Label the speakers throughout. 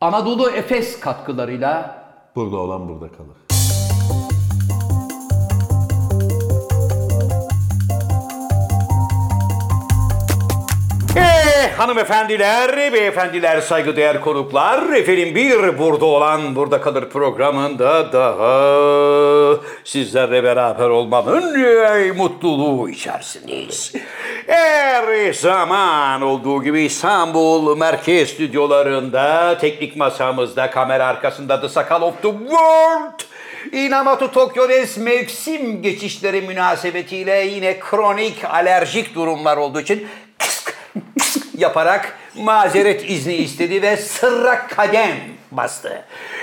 Speaker 1: Anadolu Efes katkılarıyla
Speaker 2: Burada olan burada kalır.
Speaker 3: Ee, hanımefendiler, beyefendiler, saygıdeğer konuklar. Efendim bir burada olan burada kalır programında daha sizlerle beraber olmanın e, mutluluğu içerisindeyiz. Her zaman olduğu gibi İstanbul merkez stüdyolarında, teknik masamızda, kamera arkasında The Sakal of the World Inamoto Tokyo Dens mevsim geçişleri münasebetiyle yine kronik alerjik durumlar olduğu için kısk kısk yaparak mazeret izni istedi ve sırra kadem bastı.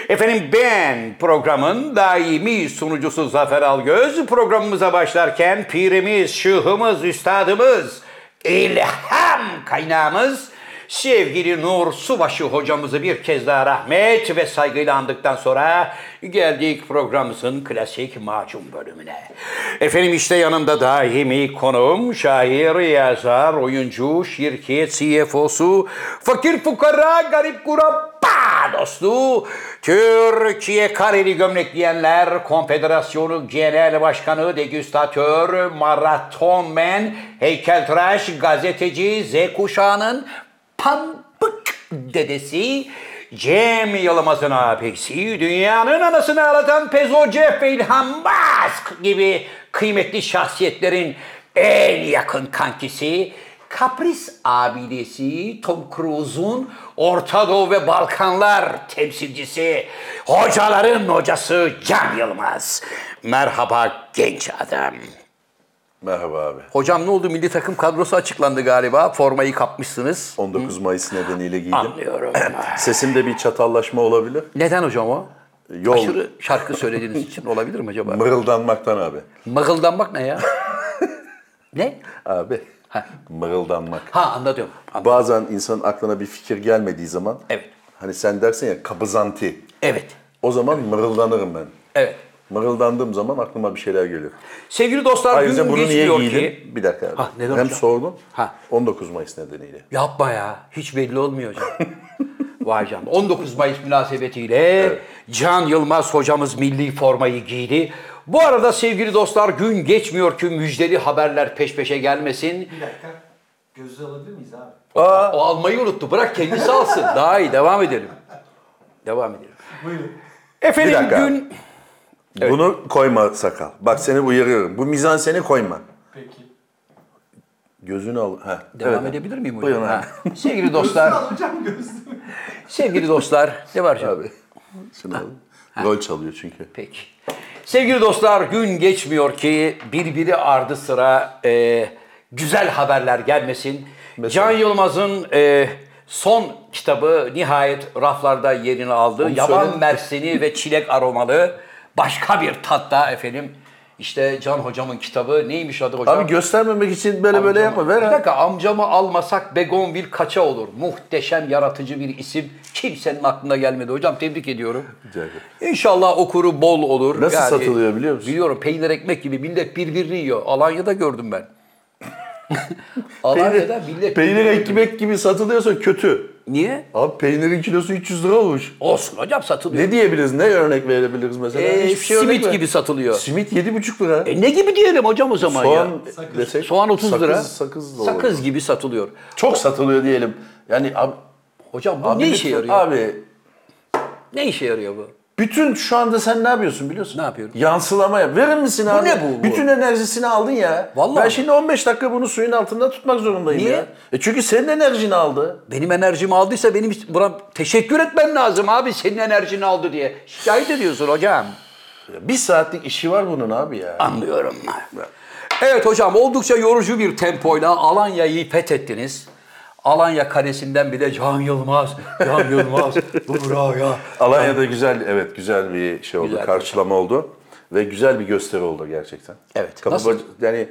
Speaker 3: Efendim ben programın daimi sunucusu Zafer Algöz. Programımıza başlarken pirimiz, şıhımız, üstadımız, ilham kaynağımız Sevgili Nur Subaşı hocamızı bir kez daha rahmet ve saygıyla andıktan sonra geldik programımızın klasik macun bölümüne. Efendim işte yanımda daimi konuğum, şair, yazar, oyuncu, şirket CFO'su, fakir fukara, garip kurabba dostu, Türkiye Kareli Gömlek Giyenler Konfederasyonu Genel Başkanı, Degüstatör, Maratonmen, Heykeltıraş, Gazeteci, Z kuşağının Pambık dedesi Cem Yılmaz'ın abisi, dünyanın anasını ağlatan Pezo Jeff ve İlhan Musk gibi kıymetli şahsiyetlerin en yakın kankisi, Kapris abidesi Tom Cruise'un Orta Doğu ve Balkanlar temsilcisi, hocaların hocası Cem Yılmaz. Merhaba genç adam.
Speaker 2: Merhaba abi.
Speaker 3: Hocam ne oldu? Milli takım kadrosu açıklandı galiba. Formayı kapmışsınız.
Speaker 2: 19 Mayıs
Speaker 3: Ah.
Speaker 2: nedeniyle giydim.
Speaker 3: Anlıyorum.
Speaker 2: Sesimde bir çatallaşma olabilir.
Speaker 3: Neden hocam o?
Speaker 2: Yol
Speaker 3: Aşırı şarkı söylediğiniz için olabilir mi acaba?
Speaker 2: mırıldanmaktan abi.
Speaker 3: Mırıldanmak ne ya? ne?
Speaker 2: Abi. Mırıldanmak.
Speaker 3: Ha anladım.
Speaker 2: Bazen insanın aklına bir fikir gelmediği zaman
Speaker 3: Evet.
Speaker 2: hani sen dersin ya kabızanti.
Speaker 3: Evet.
Speaker 2: O zaman mırıldanırım ben.
Speaker 3: Evet.
Speaker 2: Mırıldandığım zaman aklıma bir şeyler geliyor.
Speaker 3: Sevgili dostlar
Speaker 2: Ayrıca
Speaker 3: gün
Speaker 2: bunu niye
Speaker 3: geçmiyor
Speaker 2: giydin?
Speaker 3: ki.
Speaker 2: Bir dakika abi.
Speaker 3: Ha, neden
Speaker 2: Hem
Speaker 3: hocam?
Speaker 2: sordun.
Speaker 3: Ha.
Speaker 2: 19 Mayıs nedeniyle.
Speaker 3: Yapma ya. Hiç belli olmuyor hocam. Vay canına. 19 Mayıs münasebetiyle Can Yılmaz hocamız milli formayı giydi. Bu arada sevgili dostlar gün geçmiyor ki müjdeli haberler peş peşe gelmesin.
Speaker 4: Bir dakika. Gözü alabilir miyiz abi?
Speaker 3: O almayı unuttu. Bırak kendisi alsın. Daha iyi. Devam edelim. Devam edelim.
Speaker 4: Buyurun.
Speaker 3: Efendim
Speaker 2: Bir dakika.
Speaker 3: gün...
Speaker 2: Bunu koyma sakal. Bak seni uyarıyorum. Bu mizan seni koyma.
Speaker 4: Peki.
Speaker 2: Gözünü al. Ha.
Speaker 3: Devam
Speaker 2: evet.
Speaker 3: edebilir miyim hocam?
Speaker 2: Buyurun abi.
Speaker 3: Ha. Sevgili
Speaker 4: Gözünü
Speaker 3: dostlar,
Speaker 4: alacağım gözünü.
Speaker 3: sevgili dostlar. Ne var canım?
Speaker 2: Abi. Şunu al. Rol çalıyor çünkü.
Speaker 3: Peki. Sevgili dostlar gün geçmiyor ki birbiri ardı sıra e, güzel haberler gelmesin. Can Yılmaz'ın e, son kitabı nihayet raflarda yerini aldı.
Speaker 2: Onu
Speaker 3: Yaban
Speaker 2: söyle.
Speaker 3: mersini ve çilek aromalı başka bir tatta efendim. İşte Can hocamın kitabı neymiş adı hocam?
Speaker 2: Abi göstermemek için böyle böyle yapma.
Speaker 3: Amcamı-
Speaker 2: Ver
Speaker 3: Bir
Speaker 2: ha.
Speaker 3: dakika amcamı almasak Begonvil kaça olur? Muhteşem yaratıcı bir isim. Kimsenin aklına gelmedi hocam. Tebrik ediyorum.
Speaker 2: Rica ederim.
Speaker 3: İnşallah okuru bol olur.
Speaker 2: Nasıl satılıyor biliyor musun?
Speaker 3: Biliyorum peynir ekmek gibi millet birbirini yiyor. Alanya'da gördüm ben. Alanya'da millet
Speaker 2: peynir
Speaker 3: birbirini-
Speaker 2: ekmek gibi satılıyorsa kötü.
Speaker 3: Niye?
Speaker 2: Abi peynirin kilosu 300 lira olmuş.
Speaker 3: Olsun hocam satılıyor.
Speaker 2: Ne diyebiliriz? Ne örnek verebiliriz mesela?
Speaker 3: Ee,
Speaker 2: Hiçbir şey örnek
Speaker 3: simit
Speaker 2: ver-
Speaker 3: gibi satılıyor.
Speaker 2: Simit 7,5 lira.
Speaker 3: E ne gibi diyelim hocam o zaman ya?
Speaker 2: Soğan
Speaker 4: Sakız.
Speaker 2: desek.
Speaker 3: Soğan 30
Speaker 2: sakız,
Speaker 3: lira.
Speaker 2: Sakız da olur.
Speaker 3: Sakız gibi satılıyor.
Speaker 2: Çok satılıyor diyelim. Yani ab-
Speaker 3: Hocam bu
Speaker 2: abi
Speaker 3: ne işe
Speaker 2: lütfen-
Speaker 3: yarıyor?
Speaker 2: Abi
Speaker 3: Ne işe yarıyor bu?
Speaker 2: bütün şu anda sen ne yapıyorsun biliyorsun?
Speaker 3: Ne yapıyorum?
Speaker 2: Yansılama yap. Verir misin abi?
Speaker 3: ne bu, bu?
Speaker 2: Bütün enerjisini aldın ya.
Speaker 3: Vallahi
Speaker 2: ben
Speaker 3: mi?
Speaker 2: şimdi 15 dakika bunu suyun altında tutmak zorundayım
Speaker 3: Niye?
Speaker 2: ya. E çünkü senin enerjini aldı.
Speaker 3: Benim enerjimi aldıysa benim buram teşekkür etmen lazım abi senin enerjini aldı diye. Şikayet ediyorsun hocam.
Speaker 2: Ya Bir saatlik işi var bunun abi ya.
Speaker 3: Anlıyorum. Evet hocam oldukça yorucu bir tempoyla Alanya'yı fethettiniz. Alanya kalesinden bile Can Yılmaz, Can Yılmaz, buraya.
Speaker 2: Alanya'da güzel evet güzel bir şey oldu.
Speaker 3: Güzel.
Speaker 2: karşılama oldu ve güzel bir gösteri oldu gerçekten.
Speaker 3: Evet,
Speaker 2: Kapı
Speaker 3: nasıl?
Speaker 2: baca- yani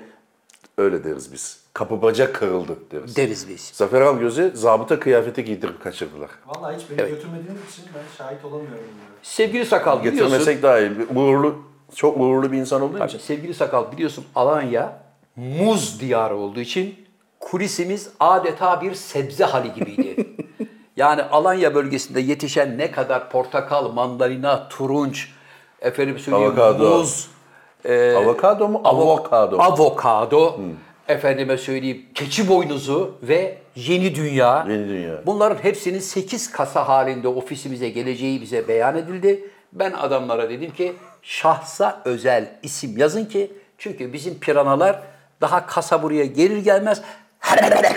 Speaker 2: öyle deriz biz. Kapı bacak kırıldı deriz.
Speaker 3: Deriz biz.
Speaker 2: Zafer Algöz'e zabıta kıyafeti giydirip kaçırdılar.
Speaker 4: Vallahi hiç beni götürmediğiniz için ben şahit olamıyorum. bunlara.
Speaker 3: Sevgili Sakal biliyorsun.
Speaker 2: Getirmesek daha iyi. Bir Uğurlu, çok uğurlu bir insan olduğu için.
Speaker 3: Sevgili Sakal biliyorsun Alanya muz diyarı olduğu için kulisimiz adeta bir sebze hali gibiydi. Yani Alanya bölgesinde yetişen ne kadar portakal, mandalina, turunç, efendim söyleyeyim
Speaker 2: Avokado.
Speaker 3: muz, e,
Speaker 2: Avokado mu?
Speaker 3: avo-
Speaker 2: Avokado. Hmm.
Speaker 3: avokado, efendime söyleyeyim keçi boynuzu ve yeni dünya.
Speaker 2: Yeni Dünya.
Speaker 3: Bunların hepsinin 8 kasa halinde ofisimize geleceği bize beyan edildi. Ben adamlara dedim ki şahsa özel isim yazın ki çünkü bizim piranalar daha kasa buraya gelir gelmez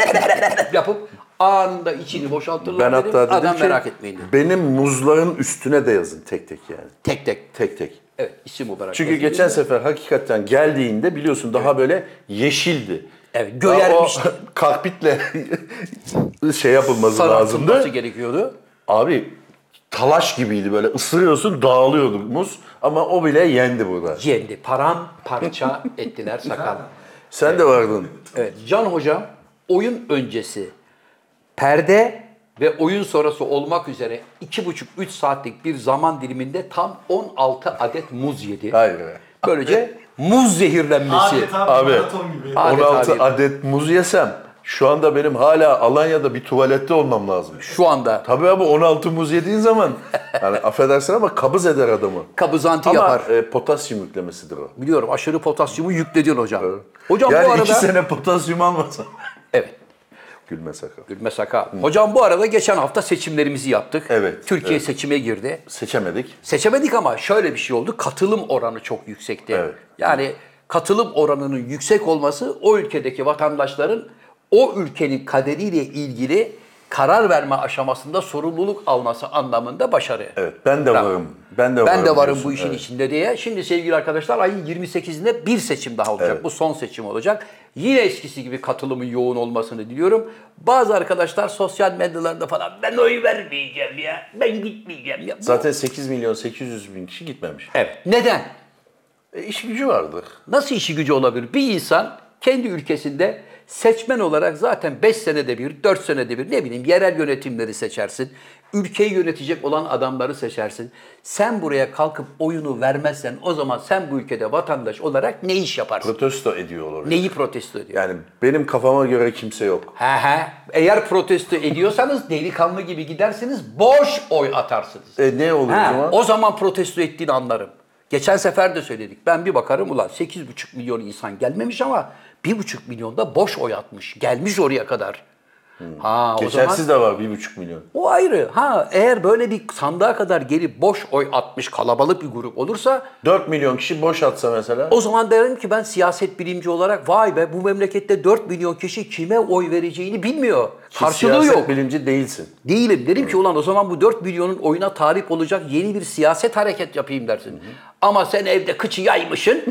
Speaker 3: yapıp anında içini boşaltırlar
Speaker 2: Ben
Speaker 3: dedim.
Speaker 2: hatta dedim
Speaker 3: Adam
Speaker 2: ki,
Speaker 3: merak etmeyin dedi.
Speaker 2: benim muzların üstüne de yazın tek tek yani.
Speaker 3: Tek tek.
Speaker 2: Tek tek.
Speaker 3: Evet isim olarak.
Speaker 2: Çünkü
Speaker 3: yazın.
Speaker 2: geçen sefer hakikaten geldiğinde biliyorsun daha böyle yeşildi.
Speaker 3: Evet, göğermişti.
Speaker 2: Ya o Kakpitle şey yapılması lazımdı.
Speaker 3: sarılması gerekiyordu.
Speaker 2: Abi talaş gibiydi böyle ısırıyorsun dağılıyordu muz ama o bile yendi burada.
Speaker 3: Yendi. Param parça ettiler sakal.
Speaker 2: Sen de vardın.
Speaker 3: Evet, Can Hocam oyun öncesi perde ve oyun sonrası olmak üzere 2,5-3 saatlik bir zaman diliminde tam 16 adet muz yedi.
Speaker 2: Hayır. be.
Speaker 3: Böylece muz zehirlenmesi.
Speaker 4: Adeta
Speaker 2: Abi.
Speaker 4: abi. maraton gibi.
Speaker 3: Adet
Speaker 2: 16
Speaker 3: abi.
Speaker 2: adet muz yesem şu anda benim hala Alanya'da bir tuvalette olmam lazım.
Speaker 3: Şu anda
Speaker 2: Tabii abi 16 muz yediğin zaman yani affedersin ama kabız eder adamı.
Speaker 3: kabızantı
Speaker 2: Ama
Speaker 3: yapar.
Speaker 2: e, potasyum yüklemesidir o.
Speaker 3: Biliyorum aşırı potasyumu yükledin hocam. Hocam
Speaker 2: yani
Speaker 3: bu arada...
Speaker 2: iki sene potasyum almasan.
Speaker 3: Evet.
Speaker 2: Gülme sakal.
Speaker 3: Gülme Saka. Hocam bu arada geçen hafta seçimlerimizi yaptık.
Speaker 2: Evet,
Speaker 3: Türkiye seçime girdi.
Speaker 2: Seçemedik.
Speaker 3: Seçemedik ama şöyle bir şey oldu. Katılım oranı çok yüksekti.
Speaker 2: Evet.
Speaker 3: Yani katılım oranının yüksek olması o ülkedeki vatandaşların o ülkenin kaderiyle ilgili karar verme aşamasında sorumluluk alması anlamında başarı.
Speaker 2: Evet ben de
Speaker 3: Bravo.
Speaker 2: varım. Ben de varım.
Speaker 3: Ben de varım
Speaker 2: diyorsun.
Speaker 3: bu işin
Speaker 2: Evet.
Speaker 3: içinde diye. Şimdi sevgili arkadaşlar ayın 28'inde bir seçim daha olacak.
Speaker 2: Evet.
Speaker 3: Bu son seçim olacak. Yine eskisi gibi katılımın yoğun olmasını diliyorum. Bazı arkadaşlar sosyal medyalarda falan ben oy vermeyeceğim ya. Ben gitmeyeceğim ya. Bu-
Speaker 2: Zaten 8 milyon 800 bin kişi gitmemiş.
Speaker 1: Evet.
Speaker 3: Neden?
Speaker 2: E, iş gücü vardır.
Speaker 3: Nasıl işi gücü olabilir? Bir insan kendi ülkesinde seçmen olarak zaten 5 senede bir, 4 senede bir ne bileyim yerel yönetimleri seçersin. Ülkeyi yönetecek olan adamları seçersin. Sen buraya kalkıp oyunu vermezsen o zaman sen bu ülkede vatandaş olarak ne iş yaparsın?
Speaker 2: Protesto ediyor olabilir.
Speaker 3: Neyi protesto ediyorsun?
Speaker 2: Yani benim kafama göre kimse yok.
Speaker 3: He he. Eğer protesto ediyorsanız delikanlı gibi gidersiniz boş oy atarsınız.
Speaker 2: E ne olur
Speaker 3: Ha,
Speaker 2: o zaman?
Speaker 3: o zaman protesto ettiğini anlarım. Geçen sefer de söyledik. Ben bir bakarım ulan 8,5 milyon insan gelmemiş ama 1,5 milyon da boş oy atmış. Gelmiş oraya kadar. Ha, o zaman
Speaker 2: Hmm. Geçersiz de var 1,5 milyon.
Speaker 3: o ayrı. Ha eğer böyle bir sandığa kadar gelip boş oy atmış kalabalık bir grup olursa
Speaker 2: 4 milyon kişi boş atsa mesela.
Speaker 3: o zaman derim ki ben siyaset bilimci olarak vay be bu memlekette 4 milyon kişi kime oy vereceğini bilmiyor.
Speaker 2: ki
Speaker 3: Karşılığı
Speaker 2: siyaset
Speaker 3: yok.
Speaker 2: bilimci değilsin.
Speaker 3: Değilim. Dedim ki ulan o zaman bu 4 milyonun oyuna talip olacak yeni bir siyaset hareket yapayım dersin. Ama sen evde kıçı yaymışsın.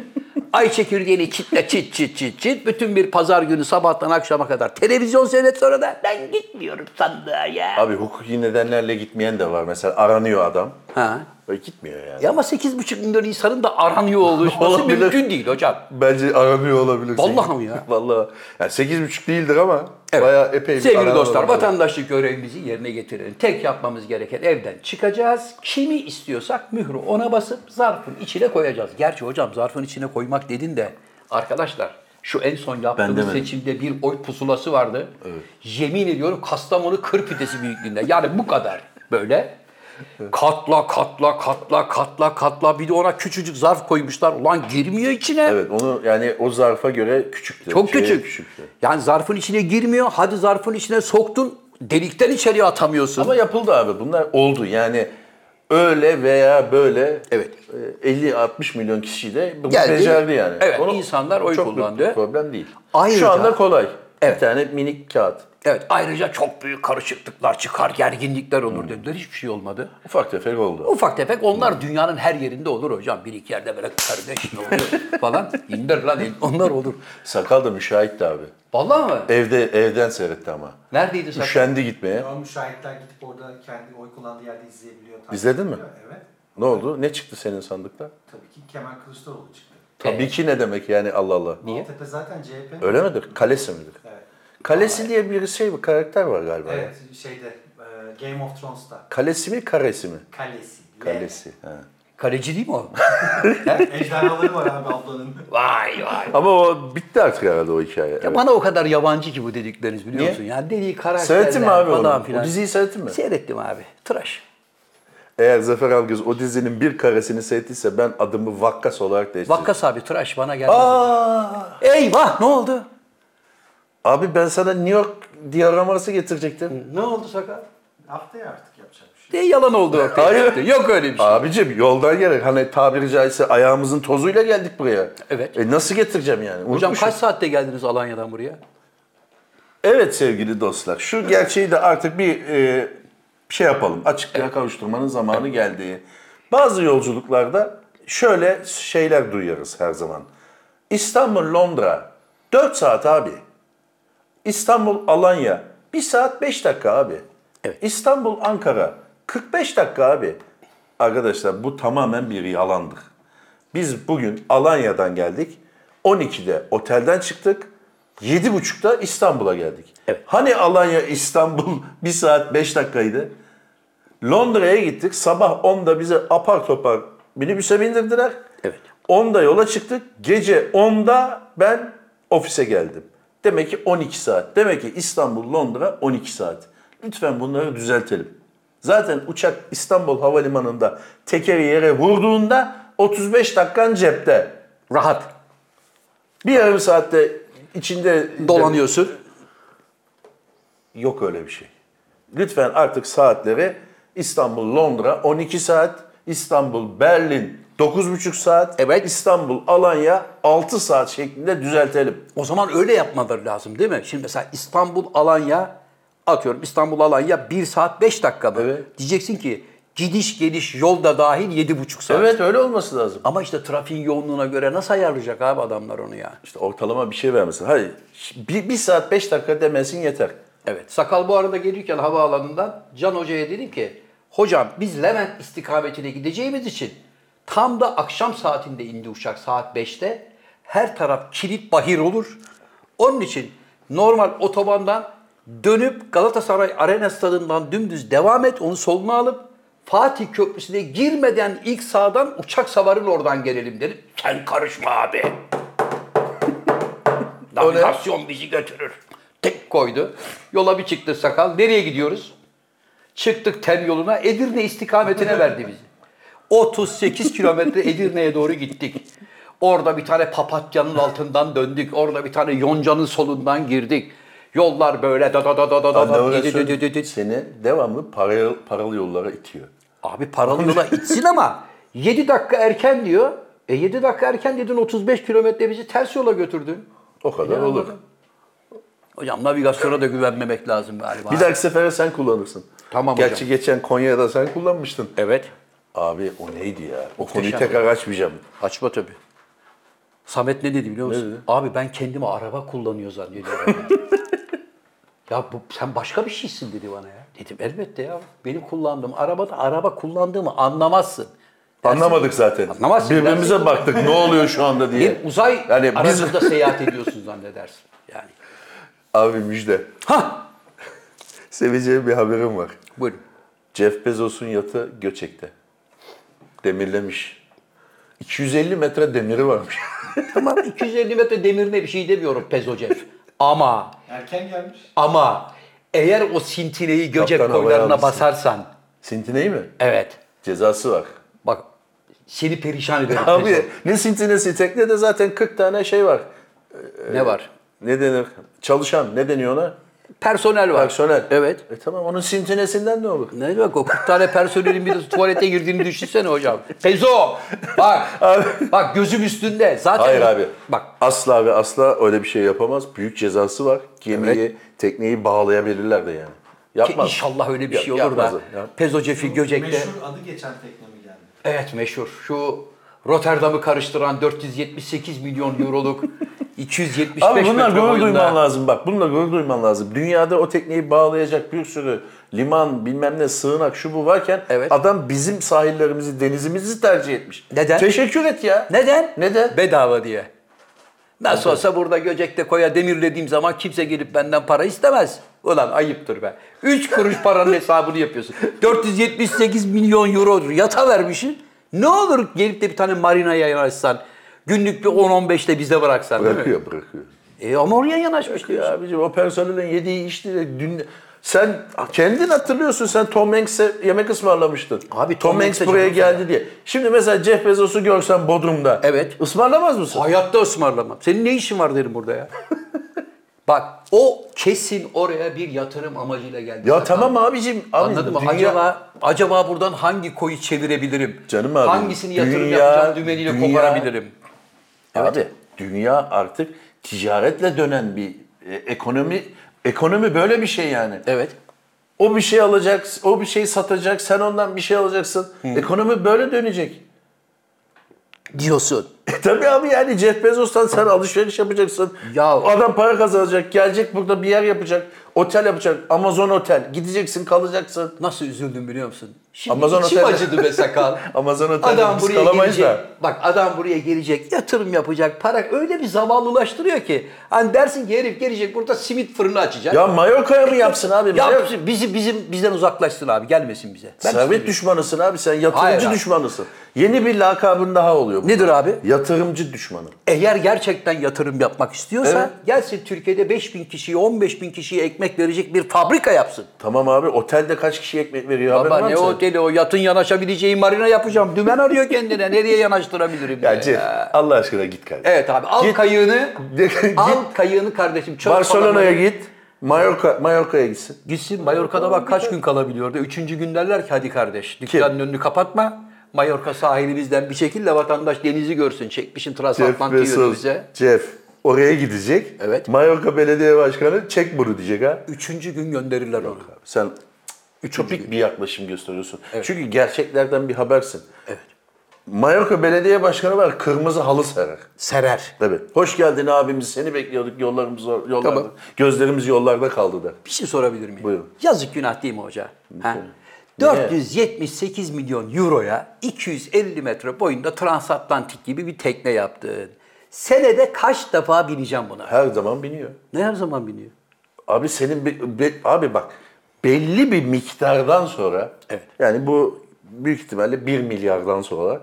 Speaker 3: ay çekirdeğini çitle çit çit çit çit. Bütün bir pazar günü sabahtan akşama kadar televizyon seyret sonra da ben gitmiyorum sandığa ya.
Speaker 2: Abi hukuki nedenlerle gitmeyen de var. Mesela aranıyor adam.
Speaker 3: Ha.
Speaker 2: E, gitmiyor yani.
Speaker 3: Ya ama 8,5 milyon insanın da aranıyor oluşması
Speaker 2: Olabilir.
Speaker 3: mümkün değil hocam.
Speaker 2: Bence aranıyor olabilir.
Speaker 3: Vallahi mi ya?
Speaker 2: Vallahi. Yani 8,5 değildir ama
Speaker 3: Evet.
Speaker 2: bayağı epey bir
Speaker 3: Sevgili
Speaker 2: aranan
Speaker 3: dostlar,
Speaker 2: olabilir.
Speaker 3: vatandaşlık görevimizi yerine getirelim. Tek yapmamız gereken evden çıkacağız. Kimi istiyorsak mührü ona basıp zarfın içine koyacağız. Gerçi hocam zarfın içine koymak dedin de arkadaşlar şu en son yaptığımız
Speaker 2: demedim.
Speaker 3: seçimde bir oy pusulası vardı. Yemin ediyorum Kastamonu kır pidesi büyüklüğünde. Yani bu kadar böyle. Katla katla katla katla katla bir de ona küçücük zarf koymuşlar. Ulan girmiyor içine.
Speaker 2: Evet onu yani o zarfa göre küçüktü.
Speaker 3: Çok
Speaker 2: Şeye
Speaker 3: küçük.
Speaker 2: küçüktü.
Speaker 3: Yani zarfın içine girmiyor. Hadi zarfın içine soktun. Delikten içeriye atamıyorsun.
Speaker 2: Ama yapıldı abi bunlar oldu yani öyle veya böyle
Speaker 3: Evet.
Speaker 2: e, 50-60 milyon kişi de bunu
Speaker 3: Geldi.
Speaker 2: becerdi yani.
Speaker 3: Evet, insanlar oy
Speaker 2: çok büyük
Speaker 3: kullandı.
Speaker 2: bir problem değil.
Speaker 3: Ayrıca-
Speaker 2: Şu anda kolay.
Speaker 3: Evet.
Speaker 2: Bir tane minik kağıt.
Speaker 3: evet ayrıca çok büyük karışıklıklar çıkar, gerginlikler olur
Speaker 2: Hmm.
Speaker 3: dediler. Hiçbir şey olmadı.
Speaker 2: Ufak tefek oldu.
Speaker 3: Ufak tefek
Speaker 2: Hmm.
Speaker 3: onlar dünyanın her yerinde olur hocam. Bir iki yerde böyle kardeş ne oluyor falan. İndir lan el- onlar olur.
Speaker 2: Sakal da müşahitti abi.
Speaker 3: Vallahi mı?
Speaker 2: Evde evden seyretti ama.
Speaker 3: Neredeydi sen?
Speaker 2: Üşendi gitmeye.
Speaker 4: Ama müşahitler gidip orada kendi oy kullandığı yerde izleyebiliyor. takip
Speaker 2: İzledin mi?
Speaker 4: ediyor. Evet.
Speaker 2: Ne oldu? Ne çıktı senin sandıkta?
Speaker 4: Tabii ki Kemal Kılıçdaroğlu çıktı.
Speaker 2: Tabii ki ne demek yani Allah Allah.
Speaker 3: Niye?
Speaker 4: Maltepe zaten CHP.
Speaker 2: Öyle midir? Kalesi midir?
Speaker 4: Evet.
Speaker 2: Kalesi diye bir şey bir karakter var galiba. ya.
Speaker 4: Evet şeyde e, Game of Thrones'ta
Speaker 2: Kalesi mi karesi mi?
Speaker 4: kalesi. L.
Speaker 2: Kalesi. Ha.
Speaker 3: Kaleci değil mi o?
Speaker 4: Ejderhaları var abi ablanın.
Speaker 3: vay vay.
Speaker 2: Ama o bitti artık herhalde o hikaye.
Speaker 3: Ya
Speaker 2: Evet.
Speaker 3: bana o kadar yabancı ki bu dedikleriniz biliyor
Speaker 2: Niye?
Speaker 3: musun? Yani dediği karakterler
Speaker 2: Seyrettin mi abi
Speaker 3: falan
Speaker 2: onu?
Speaker 3: filan. Şey-
Speaker 2: O diziyi seyrettin mi?
Speaker 3: Seyrettim abi. Tıraş.
Speaker 2: Eğer Zafer Algöz o dizinin bir karesini seyrettiyse ben adımı Vakkas olarak değiştirdim.
Speaker 3: Vakkas abi tıraş bana gelmez.
Speaker 2: Aa!
Speaker 3: Eyvah ne oldu?
Speaker 2: Abi ben sana New York diyaraması getirecektim.
Speaker 3: Ne oldu sakal?
Speaker 4: Haftaya artık yapacak bir şey.
Speaker 3: De yalan oldu ortaya
Speaker 2: Hayır.
Speaker 3: çıktı. Yok öyle bir şey.
Speaker 2: Abicim yoldan gerek. Hani tabiri caizse ayağımızın tozuyla geldik buraya.
Speaker 3: Evet.
Speaker 2: E nasıl getireceğim yani?
Speaker 3: Hocam
Speaker 2: Unutmuşum.
Speaker 3: kaç saatte geldiniz Alanya'dan buraya?
Speaker 2: Evet sevgili dostlar, şu gerçeği de artık bir e, şey yapalım. Açıklığa kavuşturmanın zamanı geldi. Bazı yolculuklarda şöyle şeyler duyarız her zaman. İstanbul Londra 4 saat abi. İstanbul Alanya 1 saat 5 dakika abi.
Speaker 3: Evet.
Speaker 2: İstanbul Ankara 45 dakika abi. Arkadaşlar bu tamamen bir yalandır. Biz bugün Alanya'dan geldik. 12'de otelden çıktık. 7.30'da İstanbul'a geldik.
Speaker 3: Evet.
Speaker 2: Hani Alanya İstanbul 1 saat 5 dakikaydı. Londra'ya gittik. Sabah 10'da bize apar topar minibüse bindirdiler.
Speaker 3: Evet.
Speaker 2: 10'da yola çıktık. Gece 10'da ben ofise geldim. Demek ki 12 saat. Demek ki İstanbul Londra 12 saat. Lütfen bunları düzeltelim. Zaten uçak İstanbul Havalimanı'nda tekeri yere vurduğunda 35 dakikan cepte.
Speaker 3: Rahat.
Speaker 2: Bir yarım saatte içinde
Speaker 3: Dolanıyorsun.
Speaker 2: Yok öyle bir şey. Lütfen artık saatleri İstanbul Londra 12 saat, İstanbul Berlin 9,5 saat,
Speaker 3: Evet.
Speaker 2: İstanbul Alanya 6 saat şeklinde düzeltelim.
Speaker 3: O zaman öyle yapmaları lazım değil mi? Şimdi mesela İstanbul Alanya atıyorum İstanbul Alanya 1 saat 5 dakika mı?
Speaker 2: Evet.
Speaker 3: Diyeceksin ki gidiş geliş yolda dahil 7,5 saat.
Speaker 2: Evet öyle olması lazım.
Speaker 3: Ama işte trafiğin yoğunluğuna göre nasıl ayarlayacak abi adamlar onu ya?
Speaker 2: İşte ortalama bir şey vermesin. Hayır 1 saat 5 dakika demesin yeter.
Speaker 3: Evet. Sakal bu arada gelirken havaalanından Can Hoca'ya dedi ki hocam biz Levent istikametine gideceğimiz için tam da akşam saatinde indi uçak saat 5'te. Her taraf kilit bahir olur. Onun için normal otobandan dönüp Galatasaray Arena stadından dümdüz devam et onu soluna alıp Fatih Köprüsü'ne girmeden ilk sağdan uçak savarın oradan gelelim dedim. Sen karışma abi. Navigasyon bizi götürür. Tek koydu. Yola bir çıktı sakal. Nereye gidiyoruz? Çıktık tem yoluna. Edirne istikametine verdi bizi. 38 kilometre Edirne'ye doğru gittik. Orada bir tane papatyanın altından döndük. Orada bir tane yoncanın solundan girdik. Yollar böyle da da da da da da da.
Speaker 2: Andavrasyon
Speaker 3: dü- dü- dü- dü- dü-
Speaker 2: seni devamlı paralı, paralı yollara itiyor.
Speaker 3: Abi paralı yola itsin ama 7 dakika erken diyor. E 7 dakika erken dedin 35 kilometre bizi ters yola götürdün.
Speaker 2: O kadar olur.
Speaker 3: Hocam navigasyona da güvenmemek lazım galiba.
Speaker 2: Bir dahaki sefere sen kullanırsın.
Speaker 3: Tamam
Speaker 2: Gerçi
Speaker 3: hocam.
Speaker 2: geçen Konya'da sen kullanmıştın.
Speaker 3: Evet.
Speaker 2: Abi o neydi ya? O konuyu
Speaker 3: Muhteşem.
Speaker 2: tekrar açmayacağım.
Speaker 3: Açma tabii. Samet ne dedi biliyor musun? Abi ben kendimi araba kullanıyor zannediyorum. ya. ya bu, sen başka bir şeysin dedi bana ya. Dedim elbette ya. Benim kullandığım arabada araba kullandığımı anlamazsın. Dersin-
Speaker 2: Anlamadık zaten.
Speaker 3: Anlamazsın.
Speaker 2: Birbirimize
Speaker 3: Dersin.
Speaker 2: baktık ne oluyor şu anda diye.
Speaker 3: Bir uzay
Speaker 2: Yani biz-
Speaker 3: aracında seyahat ediyorsun zannedersin. Yani.
Speaker 2: Abi müjde.
Speaker 3: Ha.
Speaker 2: Seveceğim bir haberim var.
Speaker 3: Buyurun.
Speaker 2: Jeff Bezos'un yatı Göçek'te. Demirlemiş. 250 metre demiri varmış.
Speaker 3: Tamam 250 metre demirine bir şey demiyorum Pezocev. Ama
Speaker 4: Erken gelmiş.
Speaker 3: ama eğer o sintineyi göcek
Speaker 2: Kaptan havaya
Speaker 3: koylarına
Speaker 2: almışsın.
Speaker 3: basarsan
Speaker 2: Sintineyi mi?
Speaker 3: evet
Speaker 2: Cezası var.
Speaker 3: bak seni perişan ederim. Pezov.
Speaker 2: Abi ne sintinesi tekne de zaten 40 tane şey var.
Speaker 3: Ne var?
Speaker 2: Ne denir? Çalışan ne deniyor ona?
Speaker 3: Personel var.
Speaker 2: Personel.
Speaker 3: Evet.
Speaker 2: E tamam onun sintinesinden ne olur?
Speaker 3: Ne demek o? 40 tane personelin bir de tuvalete girdiğini düşünsene hocam. Pezo! Bak! bak gözüm üstünde. Zaten
Speaker 2: Hayır abi.
Speaker 3: Bak
Speaker 2: Asla ve asla öyle bir şey yapamaz. Büyük cezası var. Gemiyi, tekneyi bağlayabilirler de yani.
Speaker 3: ki
Speaker 2: Yapmaz.
Speaker 3: inşallah öyle bir
Speaker 2: Yap-
Speaker 3: şey olur da.
Speaker 2: yapmaz o, yap-
Speaker 3: Pezo Cefi Göcek'te.
Speaker 4: Meşhur adı geçen tekne mi geldi?
Speaker 3: Evet meşhur. Şu Rotterdam'ı karıştıran 478 milyon euroluk 275
Speaker 2: Abi bunlar
Speaker 3: metre
Speaker 2: gurur
Speaker 3: boyunda-
Speaker 2: duyman lazım bak. Bununla gurur duyman lazım. Dünyada o tekneyi bağlayacak bir sürü liman bilmem ne sığınak şu bu varken
Speaker 3: Evet.
Speaker 2: adam bizim sahillerimizi denizimizi tercih etmiş.
Speaker 3: Neden?
Speaker 2: Teşekkür et ya.
Speaker 3: Neden?
Speaker 2: Neden?
Speaker 3: Bedava diye. Nasıl olsa burada Göcek'te koya demirlediğim zaman kimse gelip benden para istemez. Ulan ayıptır be. 3 kuruş paranın hesabını yapıyorsun. 478 milyon euro yata vermişsin. Ne olur gelip de bir tane marina yanaşsan, günlük bir 10-15'te bize bıraksan değil mi?
Speaker 2: Bırakıyor bırakıyor.
Speaker 3: E ama oraya yanaşmış diyor.
Speaker 2: Ya abicim o personelin yediği içtiği de dün... Sen kendin hatırlıyorsun sen Tom Hanks'e yemek ısmarlamıştın.
Speaker 3: Abi, Tom
Speaker 2: Tom, Hanks
Speaker 3: Hanks'e
Speaker 2: buraya
Speaker 3: canım
Speaker 2: geldi diye. Şimdi mesela Jeff Bezos'u görsen Bodrum'da.
Speaker 3: Evet.
Speaker 2: Ismarlamaz mısın?
Speaker 3: Hayatta ısmarlamam. Senin ne işin var derim burada ya. Bak o kesin oraya bir yatırım amacıyla geldi.
Speaker 2: Ya
Speaker 3: Zaten.
Speaker 2: tamam abicim. abicim,
Speaker 3: Anladın mı?
Speaker 2: dünya-
Speaker 3: Acaba acaba buradan hangi koyu çevirebilirim?
Speaker 2: Canım abim,
Speaker 3: Hangisini yatırım
Speaker 2: dünya-
Speaker 3: yapacağım dümeniyle
Speaker 2: dünya-
Speaker 3: koparabilirim?
Speaker 2: Abi dünya artık ticaretle dönen bir e, ekonomi. Ekonomi böyle bir şey yani.
Speaker 3: Evet.
Speaker 2: O bir şey alacak, o bir şey satacak, sen ondan bir şey alacaksın. Ekonomi böyle dönecek.
Speaker 3: Diyorsun.
Speaker 2: E tabii abi yani Jeff Bezos'tan sen alışveriş yapacaksın.
Speaker 3: Ya-
Speaker 2: Adam para kazanacak, gelecek burada bir yer yapacak, otel yapacak, Amazon otel. Gideceksin, kalacaksın.
Speaker 3: Nasıl üzüldüm biliyor musun? Şimdi
Speaker 2: Amazon
Speaker 3: içim
Speaker 2: otelde-
Speaker 3: acıdı be sakal.
Speaker 2: Amazon otelde
Speaker 3: adam
Speaker 2: biz
Speaker 3: buraya
Speaker 2: kalamayız
Speaker 3: gelecek.
Speaker 2: da.
Speaker 3: Bak adam buraya gelecek, yatırım yapacak, para öyle bir zavallılaştırıyor ki. Hani dersin ki herif gelecek burada simit fırını açacak.
Speaker 2: Ya Mallorca'ya mı yapsın abi? bize?
Speaker 3: Ya bizi bizim bizden uzaklaşsın abi gelmesin bize. Ben
Speaker 2: Servet düşmanısın abi sen yatırımcı
Speaker 3: Hayır abi.
Speaker 2: düşmanısın. Yeni bir lakabın daha oluyor. bu.
Speaker 3: Nedir abi?
Speaker 2: Yatırımcı düşmanı.
Speaker 3: Eğer gerçekten yatırım yapmak istiyorsa
Speaker 2: Evet.
Speaker 3: gelsin Türkiye'de 5 bin kişiye 15 bin kişiye ekmek verecek bir fabrika yapsın.
Speaker 2: Tamam abi otelde kaç kişi ekmek veriyor haberin var
Speaker 3: Baba
Speaker 2: mı
Speaker 3: ne
Speaker 2: senin?
Speaker 3: oteli o yatın yanaşabileceği marina yapacağım. Dümen arıyor kendine nereye yanaştırabilirim diye.
Speaker 2: Ya Cem, Allah aşkına git kardeşim.
Speaker 3: Evet abi al
Speaker 2: Git.
Speaker 3: kayığını
Speaker 2: Git.
Speaker 3: al kayığını kardeşim. çöl
Speaker 2: Barcelona'ya
Speaker 3: falan-
Speaker 2: git. Mallorca, Mallorca'ya gitsin.
Speaker 3: Gitsin Mallorca'da bak kaç gün kalabiliyordu. Üçüncü gün derler ki hadi kardeş dükkanın önünü kapatma. Mallorca sahili bizden bir şekilde vatandaş denizi görsün. Çekmişin transatlantik bize.
Speaker 2: Jeff oraya gidecek.
Speaker 3: Evet.
Speaker 2: Mallorca Belediye Başkanı çek bunu diyecek ha.
Speaker 3: Üçüncü gün gönderirler onu.
Speaker 2: Sen ütopik bir yaklaşım gösteriyorsun. Çünkü gerçeklerden bir habersin.
Speaker 3: Evet.
Speaker 2: Mallorca Belediye Başkanı var kırmızı halı serer.
Speaker 3: Serer.
Speaker 2: Tabii. Hoş geldin abimiz seni bekliyorduk yollarımız zor- yollarda.
Speaker 3: Tamam.
Speaker 2: Gözlerimiz yollarda kaldı der.
Speaker 3: Bir şey sorabilir miyim?
Speaker 2: Buyurun.
Speaker 3: Yazık günah değil mi hoca? Ha? 478 milyon euroya 250 metre boyunda transatlantik gibi bir tekne yaptın. Senede kaç defa bineceğim buna?
Speaker 2: Her zaman biniyor.
Speaker 3: Ne her zaman biniyor?
Speaker 2: Abi senin be- be- abi bak belli bir miktardan sonra
Speaker 3: Evet.
Speaker 2: yani bu büyük ihtimalle 1 milyardan sonra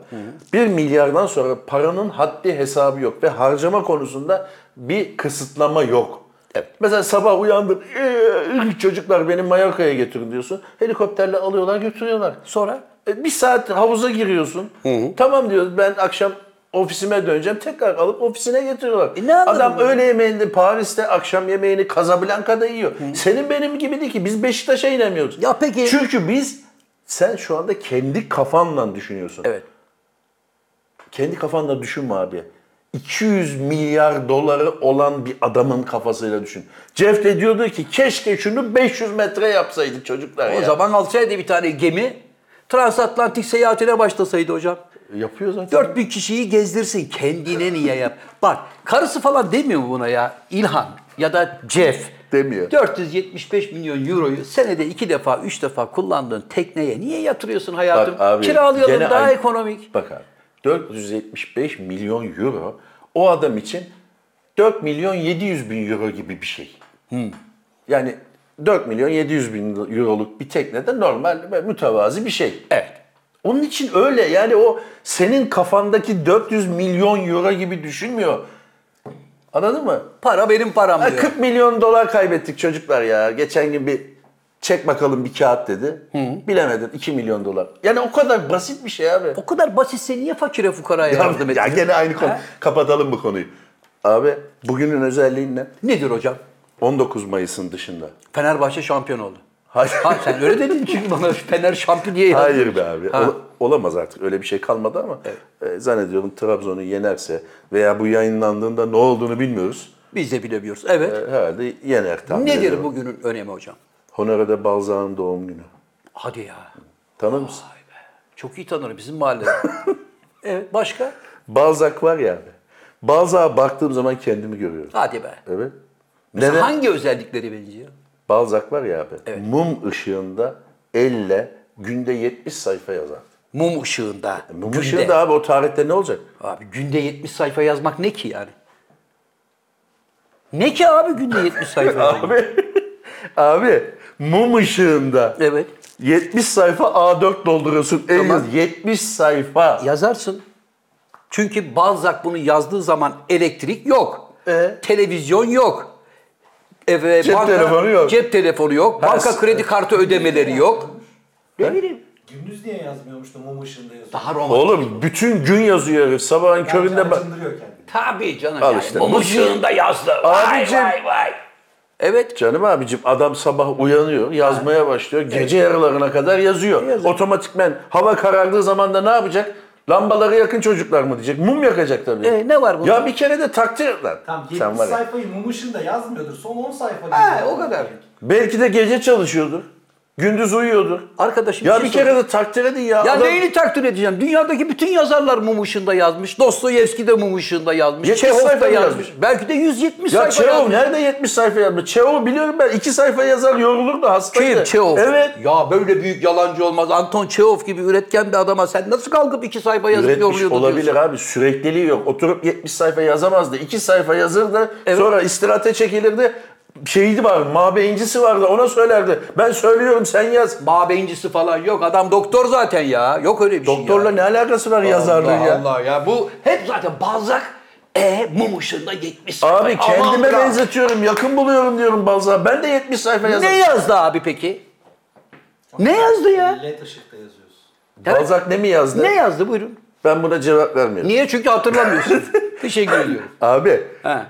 Speaker 2: 1 milyardan sonra paranın haddi hesabı yok ve harcama konusunda bir kısıtlama yok.
Speaker 3: Evet.
Speaker 2: Mesela sabah uyandın "Ee, çocuklar beni Mallorca'ya getirin diyorsun. Helikopterle alıyorlar götürüyorlar.
Speaker 3: Sonra?
Speaker 2: E, Bir saat havuza giriyorsun. Tamam diyor ben akşam ofisime döneceğim. Tekrar alıp ofisine getiriyorlar.
Speaker 3: E, ne anladın
Speaker 2: Adam
Speaker 3: bunu?
Speaker 2: öğle yemeğinde Paris'te, akşam yemeğini Casablanca'da yiyor. Senin benim gibi değil ki. Biz Beşiktaş'a inemiyoruz.
Speaker 3: Ya peki-
Speaker 2: Çünkü biz sen şu anda kendi kafanla düşünüyorsun.
Speaker 3: Evet.
Speaker 2: Kendi kafanla düşünme abi. 200 milyar doları olan bir adamın kafasıyla düşün. Jeff de diyordu ki keşke şunu 500 metre yapsaydık çocuklar
Speaker 3: O
Speaker 2: ya.
Speaker 3: zaman alsaydı bir tane gemi transatlantik seyahatine başlasaydı hocam.
Speaker 2: E, Yapıyor zaten.
Speaker 3: 4000 kişiyi gezdirsin. Kendine niye yap? Bak karısı falan demiyor mu buna ya? İlhan ya da Jeff.
Speaker 2: Demiyor.
Speaker 3: 475 milyon euroyu senede iki defa, üç defa kullandığın tekneye niye yatırıyorsun hayatım?
Speaker 2: Bak abi,
Speaker 3: Kiralayalım
Speaker 2: gene
Speaker 3: daha
Speaker 2: aynı-
Speaker 3: ekonomik.
Speaker 2: Bak abi 475 milyon euro o adam için 4 milyon 700 bin euro gibi bir şey. Yani 4 milyon 700 bin euroluk bir teknede normal ve mütevazi bir şey.
Speaker 3: Evet.
Speaker 2: Onun için öyle yani o senin kafandaki 400 milyon euro gibi düşünmüyor. Anladın mı?
Speaker 3: Para benim param
Speaker 2: Ha,
Speaker 3: diyor.
Speaker 2: 40 milyon dolar kaybettik çocuklar ya. Geçen gün bir çek bakalım bir kağıt dedi. Bilemedin 2 milyon dolar. Yani o kadar basit bir şey abi.
Speaker 3: O kadar basitse niye fakire fukaraya yardım
Speaker 2: Ya
Speaker 3: ediyorsun?
Speaker 2: gene aynı konu.
Speaker 3: Ha?
Speaker 2: Kapatalım bu konuyu. Abi bugünün özelliği ne?
Speaker 3: Nedir hocam?
Speaker 2: 19 Mayıs'ın dışında.
Speaker 3: Fenerbahçe şampiyon oldu.
Speaker 2: Hayır.
Speaker 3: Ha sen öyle dedin çünkü bana Fener şampiyon diye yazdın.
Speaker 2: Hayır be abi.
Speaker 3: Ha.
Speaker 2: Ola- olamaz artık. Öyle bir şey kalmadı ama e, zannediyorum Trabzon'u yenerse veya bu yayınlandığında ne olduğunu bilmiyoruz.
Speaker 3: Biz de bilemiyoruz. Evet.
Speaker 2: E, herhalde yener tahmin
Speaker 3: Nedir
Speaker 2: ediyorum.
Speaker 3: bugünün önemi hocam?
Speaker 2: Honoré de Balzac'ın doğum günü.
Speaker 3: Hadi ya.
Speaker 2: Tanır mısın?
Speaker 3: Çok iyi tanır bizim mahallede. evet başka?
Speaker 2: Balzac var ya abi. Balzac'a baktığım zaman kendimi görüyorum.
Speaker 3: Hadi be.
Speaker 2: Evet.
Speaker 3: Mesela
Speaker 2: Neden?
Speaker 3: Hangi özellikleri benziyor?
Speaker 2: Balzac var ya abi. Mum ışığında elle günde 70 sayfa yazar.
Speaker 3: Mum ışığında.
Speaker 2: Mum
Speaker 3: günde.
Speaker 2: ışığında abi o tarihte ne olacak?
Speaker 3: Abi günde 70 sayfa yazmak ne ki yani? Ne ki abi günde 70 sayfa yazmak?
Speaker 2: Abi abi mum ışığında
Speaker 3: evet.
Speaker 2: 70 sayfa A4 dolduruyorsun. En
Speaker 3: Tamam.
Speaker 2: az 70 sayfa.
Speaker 3: Yazarsın. Çünkü Balzac bunu yazdığı zaman elektrik yok. Televizyon yok. Efe,
Speaker 2: Cep telefonu yok.
Speaker 3: Cep telefonu yok.
Speaker 2: Ha,
Speaker 3: Banka
Speaker 2: s-
Speaker 3: kredi kartı ödemeleri yok. Ne bileyim.
Speaker 4: Gündüz niye yazmıyormuş da mum ışığında yazıyor?
Speaker 3: Daha romantik.
Speaker 2: Oğlum bütün gün yazıyor herif. Sabahın köründe bak.
Speaker 4: Acındırıyor kendini.
Speaker 3: Tabii canım.
Speaker 2: Al
Speaker 3: yani.
Speaker 2: işte.
Speaker 3: Mum ışığında yazdı. Vay
Speaker 2: Abicim.
Speaker 3: vay vay. Evet.
Speaker 2: Canım abicim adam sabah uyanıyor, yazmaya başlıyor. Gece yarılarına kadar yazıyor. Otomatikmen hava karardığı zaman da ne yapacak? Lambaları yakın çocuklar mı diyecek? Mum yakacak tabii.
Speaker 3: E, ne var bunda?
Speaker 2: Ya bir kere de takdir et lan.
Speaker 4: Tamam 70
Speaker 2: Sen var ya.
Speaker 4: sayfayı mum ışığında yazmıyordur. Son 10 sayfa.
Speaker 3: Ha,
Speaker 4: diyor.
Speaker 3: o kadar.
Speaker 2: Belki de gece çalışıyordur. Gündüz uyuyordur.
Speaker 3: Arkadaşım
Speaker 2: Ya
Speaker 3: şey
Speaker 2: bir
Speaker 3: sorayım.
Speaker 2: kere de takdir edin ya.
Speaker 3: Ya
Speaker 2: Adam
Speaker 3: neyini takdir edeceğim? Dünyadaki bütün yazarlar mum ışığında yazmış. Dostoyevski de mum ışığında yazmış.
Speaker 2: 70
Speaker 3: Çehov
Speaker 2: sayfa
Speaker 3: da
Speaker 2: mı
Speaker 3: yazmış.
Speaker 2: yazmış?
Speaker 3: Belki de 170
Speaker 2: Ya
Speaker 3: sayfa
Speaker 2: Çehov
Speaker 3: yazmış.
Speaker 2: nerede 70 sayfa yazmış? Çehov biliyorum ben 2 sayfa yazar yorulur da hastaydı.
Speaker 3: Kim? Çehov.
Speaker 2: Evet.
Speaker 3: Ya böyle büyük yalancı olmaz. Anton Çehov gibi üretken bir adama sen nasıl kalkıp iki sayfa yazıp
Speaker 2: Üretmiş
Speaker 3: yoruluyordu
Speaker 2: olabilir
Speaker 3: diyorsun?
Speaker 2: abi. Sürekliliği yok. Oturup 70 sayfa yazamazdı. 2 sayfa yazırdı.
Speaker 3: Evet.
Speaker 2: Sonra istirahate çekilirdi. Şeydi var, mabeyincisi vardı. Ona söylerdi. Ben söylüyorum sen yaz.
Speaker 3: Mabeyincisi falan yok. Adam doktor zaten ya. Yok öyle bir şey
Speaker 2: Doktorla
Speaker 3: ya.
Speaker 2: ne alakası var yazarlığın
Speaker 3: Allah
Speaker 2: ya?
Speaker 3: Allah ya. Bu hep zaten bazak e mum ışığında 70 sayfa.
Speaker 2: Abi
Speaker 3: Aman
Speaker 2: kendime
Speaker 3: ya.
Speaker 2: benzetiyorum. Yakın buluyorum diyorum bazen. Ben de 70 sayfa
Speaker 3: Ne
Speaker 2: yazarım.
Speaker 3: yazdı abi peki? Ne yazdı ya?
Speaker 4: Led ışıkta yazıyorsun.
Speaker 3: Evet.
Speaker 2: Balzac ne mi yazdı?
Speaker 3: Ne yazdı buyurun.
Speaker 2: Ben buna cevap vermiyorum.
Speaker 3: Niye? Çünkü hatırlamıyorsun. şey Teşekkür ediyorum.
Speaker 2: Abi
Speaker 3: Ha.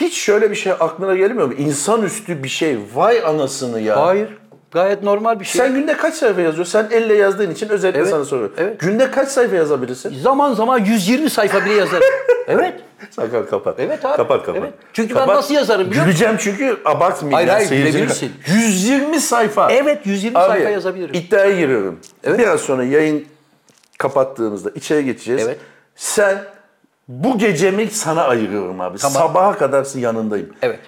Speaker 2: hiç şöyle bir şey aklına gelmiyor mu? İnsanüstü bir şey. Vay anasını ya.
Speaker 3: Hayır. Gayet normal bir şey.
Speaker 2: Sen günde kaç sayfa yazıyorsun? Sen elle yazdığın için özellikle
Speaker 3: Evet,
Speaker 2: sana soruyorum.
Speaker 3: evet.
Speaker 2: Günde kaç sayfa yazabilirsin?
Speaker 3: Zaman zaman 120 sayfa bile yazarım. evet.
Speaker 2: Sakal kapat.
Speaker 3: Evet abi,
Speaker 2: Kapat kapat.
Speaker 3: evet. Çünkü ben
Speaker 2: Kapat.
Speaker 3: nasıl yazarım biliyor musun?
Speaker 2: Güleceğim çünkü abartmayayım.
Speaker 3: Hayır,
Speaker 2: ya,
Speaker 3: hayır,
Speaker 2: seyircinin-
Speaker 3: gülebilirsin.
Speaker 2: 120 sayfa.
Speaker 3: Evet 120
Speaker 2: Abi,
Speaker 3: sayfa yazabilirim.
Speaker 2: iddiaya giriyorum. Biraz sonra yayın kapattığımızda içeri geçeceğiz.
Speaker 3: Evet.
Speaker 2: Sen bu gecemi sana ayırıyorum abi. Sabaha kadar yanındayım.
Speaker 3: evet.